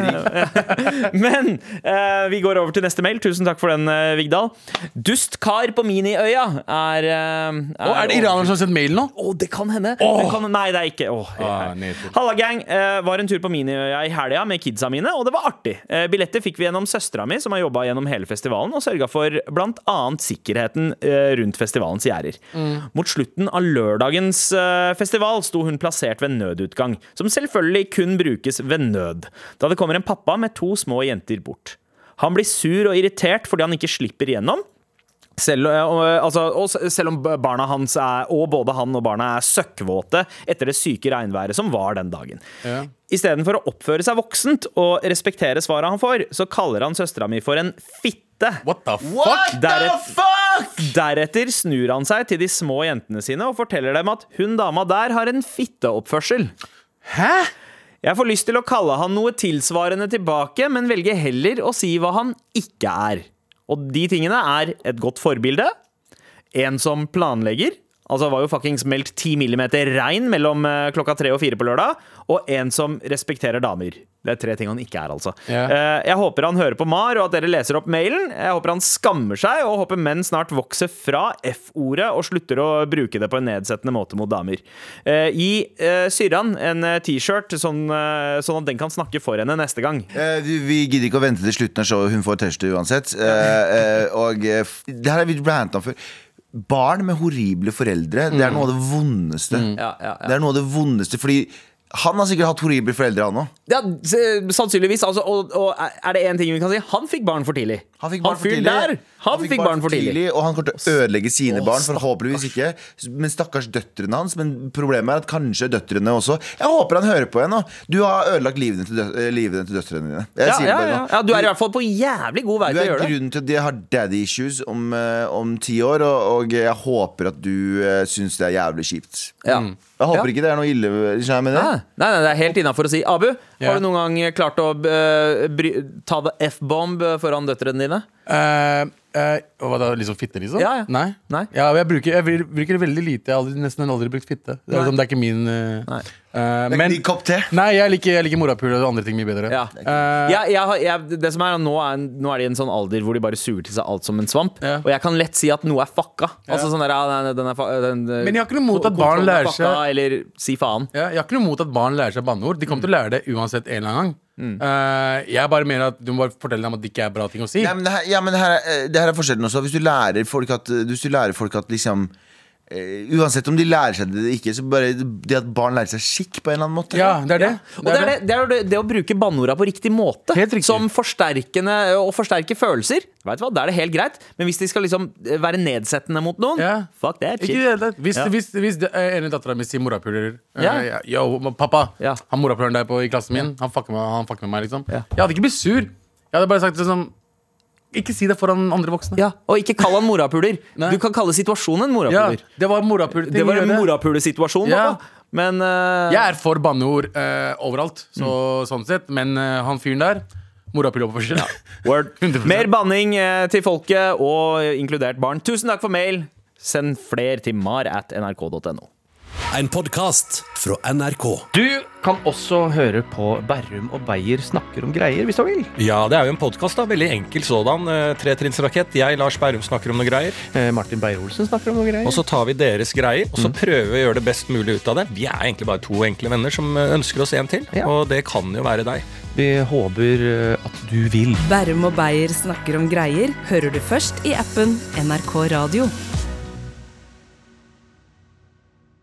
Men eh, vi går over til neste mail. Tusen takk for den, eh, Vigdal. Dustkar på Miniøya er, eh, Og er det iranere som har sendt mail nå? Å, det kan hende. Det kan, nei, det er ikke. Åh, jeg- Ah, nedtur. Halla, gang. Eh, var en tur på Miniøya i helga med kidsa mine, og det var artig. Eh, billetter fikk vi gjennom søstera mi, som har jobba gjennom hele festivalen, og sørga for bl.a. sikkerheten eh, rundt festivalens gjerder. Mot slutten av lørdagens eh, festival sto hun plassert ved nødutgang, som selvfølgelig kun brukes ved nød, da det kommer en pappa med to små jenter bort. Han blir sur og irritert fordi han ikke slipper gjennom, selv, og, altså, og selv om barna hans er, og både han og barna er søkkvåte etter det syke regnværet som var den dagen. Ja. Istedenfor å oppføre seg voksent og respektere svaret han får, så kaller han søstera mi for en fitte. What the fuck? What the fuck?! Deretter snur han seg til de små jentene sine og forteller dem at hun dama der har en fitteoppførsel. Hæ? Jeg får lyst til å kalle han noe tilsvarende tilbake, men velger heller å si hva han ikke er. Og de tingene er et godt forbilde, en som planlegger, altså det var jo fuckings meldt 10 millimeter regn mellom eh, klokka tre og fire på lørdag, og en som respekterer damer. Det er tre ting han ikke er, altså. Ja. Eh, Jeg håper han hører på Mar, og at dere leser opp mailen. Jeg håper han skammer seg, og håper menn snart vokser fra F-ordet og slutter å bruke det på en nedsettende måte mot damer. Eh, Gi eh, Syran en eh, T-shirt, sånn, eh, sånn at den kan snakke for henne neste gang. Eh, vi, vi gidder ikke å vente til slutten av showet. Hun får T-skjorte uansett. Eh, eh, og eh, f- det her har vi ranta om før. Barn med horrible foreldre, det er noe av det vondeste. Mm. Ja, ja, ja. Det er noe av det vondeste, fordi han har sikkert hatt horrible foreldre, han òg. Ja, s- sannsynligvis. Altså, og, og er det én ting vi kan si? Han fikk barn for tidlig. fyren der, han, fikk, barn for tidlig. Og han kommer til å ødelegge sine barn, forhåpentligvis ikke. Men stakkars døtrene hans. Men problemet er at kanskje døtrene også Jeg håper han hører på henne. nå. Du har ødelagt livene til, dø eh, livene til døtrene dine. Jeg Ja, sier det ja, bare ja. nå. ja, du er i hvert fall på jævlig god vei Du til å er gjøre det. grunnen til at de har daddy issues om, eh, om ti år, og, og jeg håper at du uh, syns det er jævlig kjipt. Ja. Jeg håper Ja. ikke det er noe ille. skjønner jeg med det? Nei, nei, nei, det er helt innafor å si. Abu, Ja. har du noen gang klart å eh, bry, ta the F-bomb foran døtrene dine? Eh, eh, hva da, liksom fitte, liksom? Ja, ja. Nei. Nei. Ja, jeg, bruker, jeg vil- bruker det veldig lite. Jeg har aldri, nesten aldri brukt fitte. Det er, Nei. liksom, det er ikke min eh, Nei. eh, Det er men, ikke din kopp te. Nei, jeg liker, jeg liker morapuler og andre ting mye bedre. Ja. Eh, Jeg, jeg, har- jeg, det som er, nå, er, nå er de i en sånn alder hvor de bare suger til seg alt som en svamp. Ja. Og jeg kan lett si at noe er fucka. Altså Ja. sånn der, ja, den, den er, fa- den, eh, Men jeg har ikke noe imot at kontrollen barn er lærer fucka, seg- Eller si faen. ja, jeg har ikke noe imot at barn lærer seg banneord. De kommer til å lære det uansett en eller annen gang. Mm. Eh, jeg bare mener at Du må bare fortelle dem at det ikke er bra ting å si. Nei, men det her, ja, men det her, er- eh, det her er forskjellen også. Hvis du lærer folk at, eh, hvis du lærer folk at liksom eh, Uansett om de lærer seg det eller ikke, så bare det at barn lærer seg skikk på en eller annen måte. ja, det er det. Og det, er det, det, er det, det å bruke banneorda på riktig måte. Helt riktig. Som forsterkende og forsterke følelser. Vet du hva, Da er det helt greit. Men hvis de skal liksom være nedsettende mot noen, Ja. fuck that Ikke i shit. det hele tatt. Hvis, Ja. hvis, hvis det er en av dattera mi sier morapuler eh, Ja. ja, Yo, pappa, Ja. han morapuleren der på, i klassen min, han fucker med, han fucker med meg, liksom. Ja. Jeg hadde ikke blitt sur. Jeg hadde bare sagt liksom Ikke si det foran andre voksne. Ja, og ikke kall han morapuler. Nei. Du kan kalle situasjonen en Ja, morapuler. det var morapuler. Det var en morapulesituasjon, Ja. da. Men eh, Jeg er for banneord eh, overalt, så, Mm. sånn sett. Men eh, han fyren der Morapuloppførsel. word. 100%. Mer banning eh, til folket, og inkludert barn. Tusen takk for mail. Send fler til mar at nrk.no. En podkast fra NRK. Du kan også høre på Berrum og Beyer snakker om greier, hvis du vil. Ja, det er jo en podkast. Veldig enkel sådan. Eh, Tretrinnsrakett. Jeg, Lars Berrum, snakker om noe greier. Eh, Martin Beyer-Olsen snakker om noe greier. Mm. Og så tar vi deres greier, og så prøver vi å gjøre det best mulig ut av det. Vi er egentlig bare to enkle venner som eh, ønsker oss en til, og det kan jo være deg. Vi håper eh, at du vil. Bærum og Beyer snakker om greier hører du først i appen NRK Radio.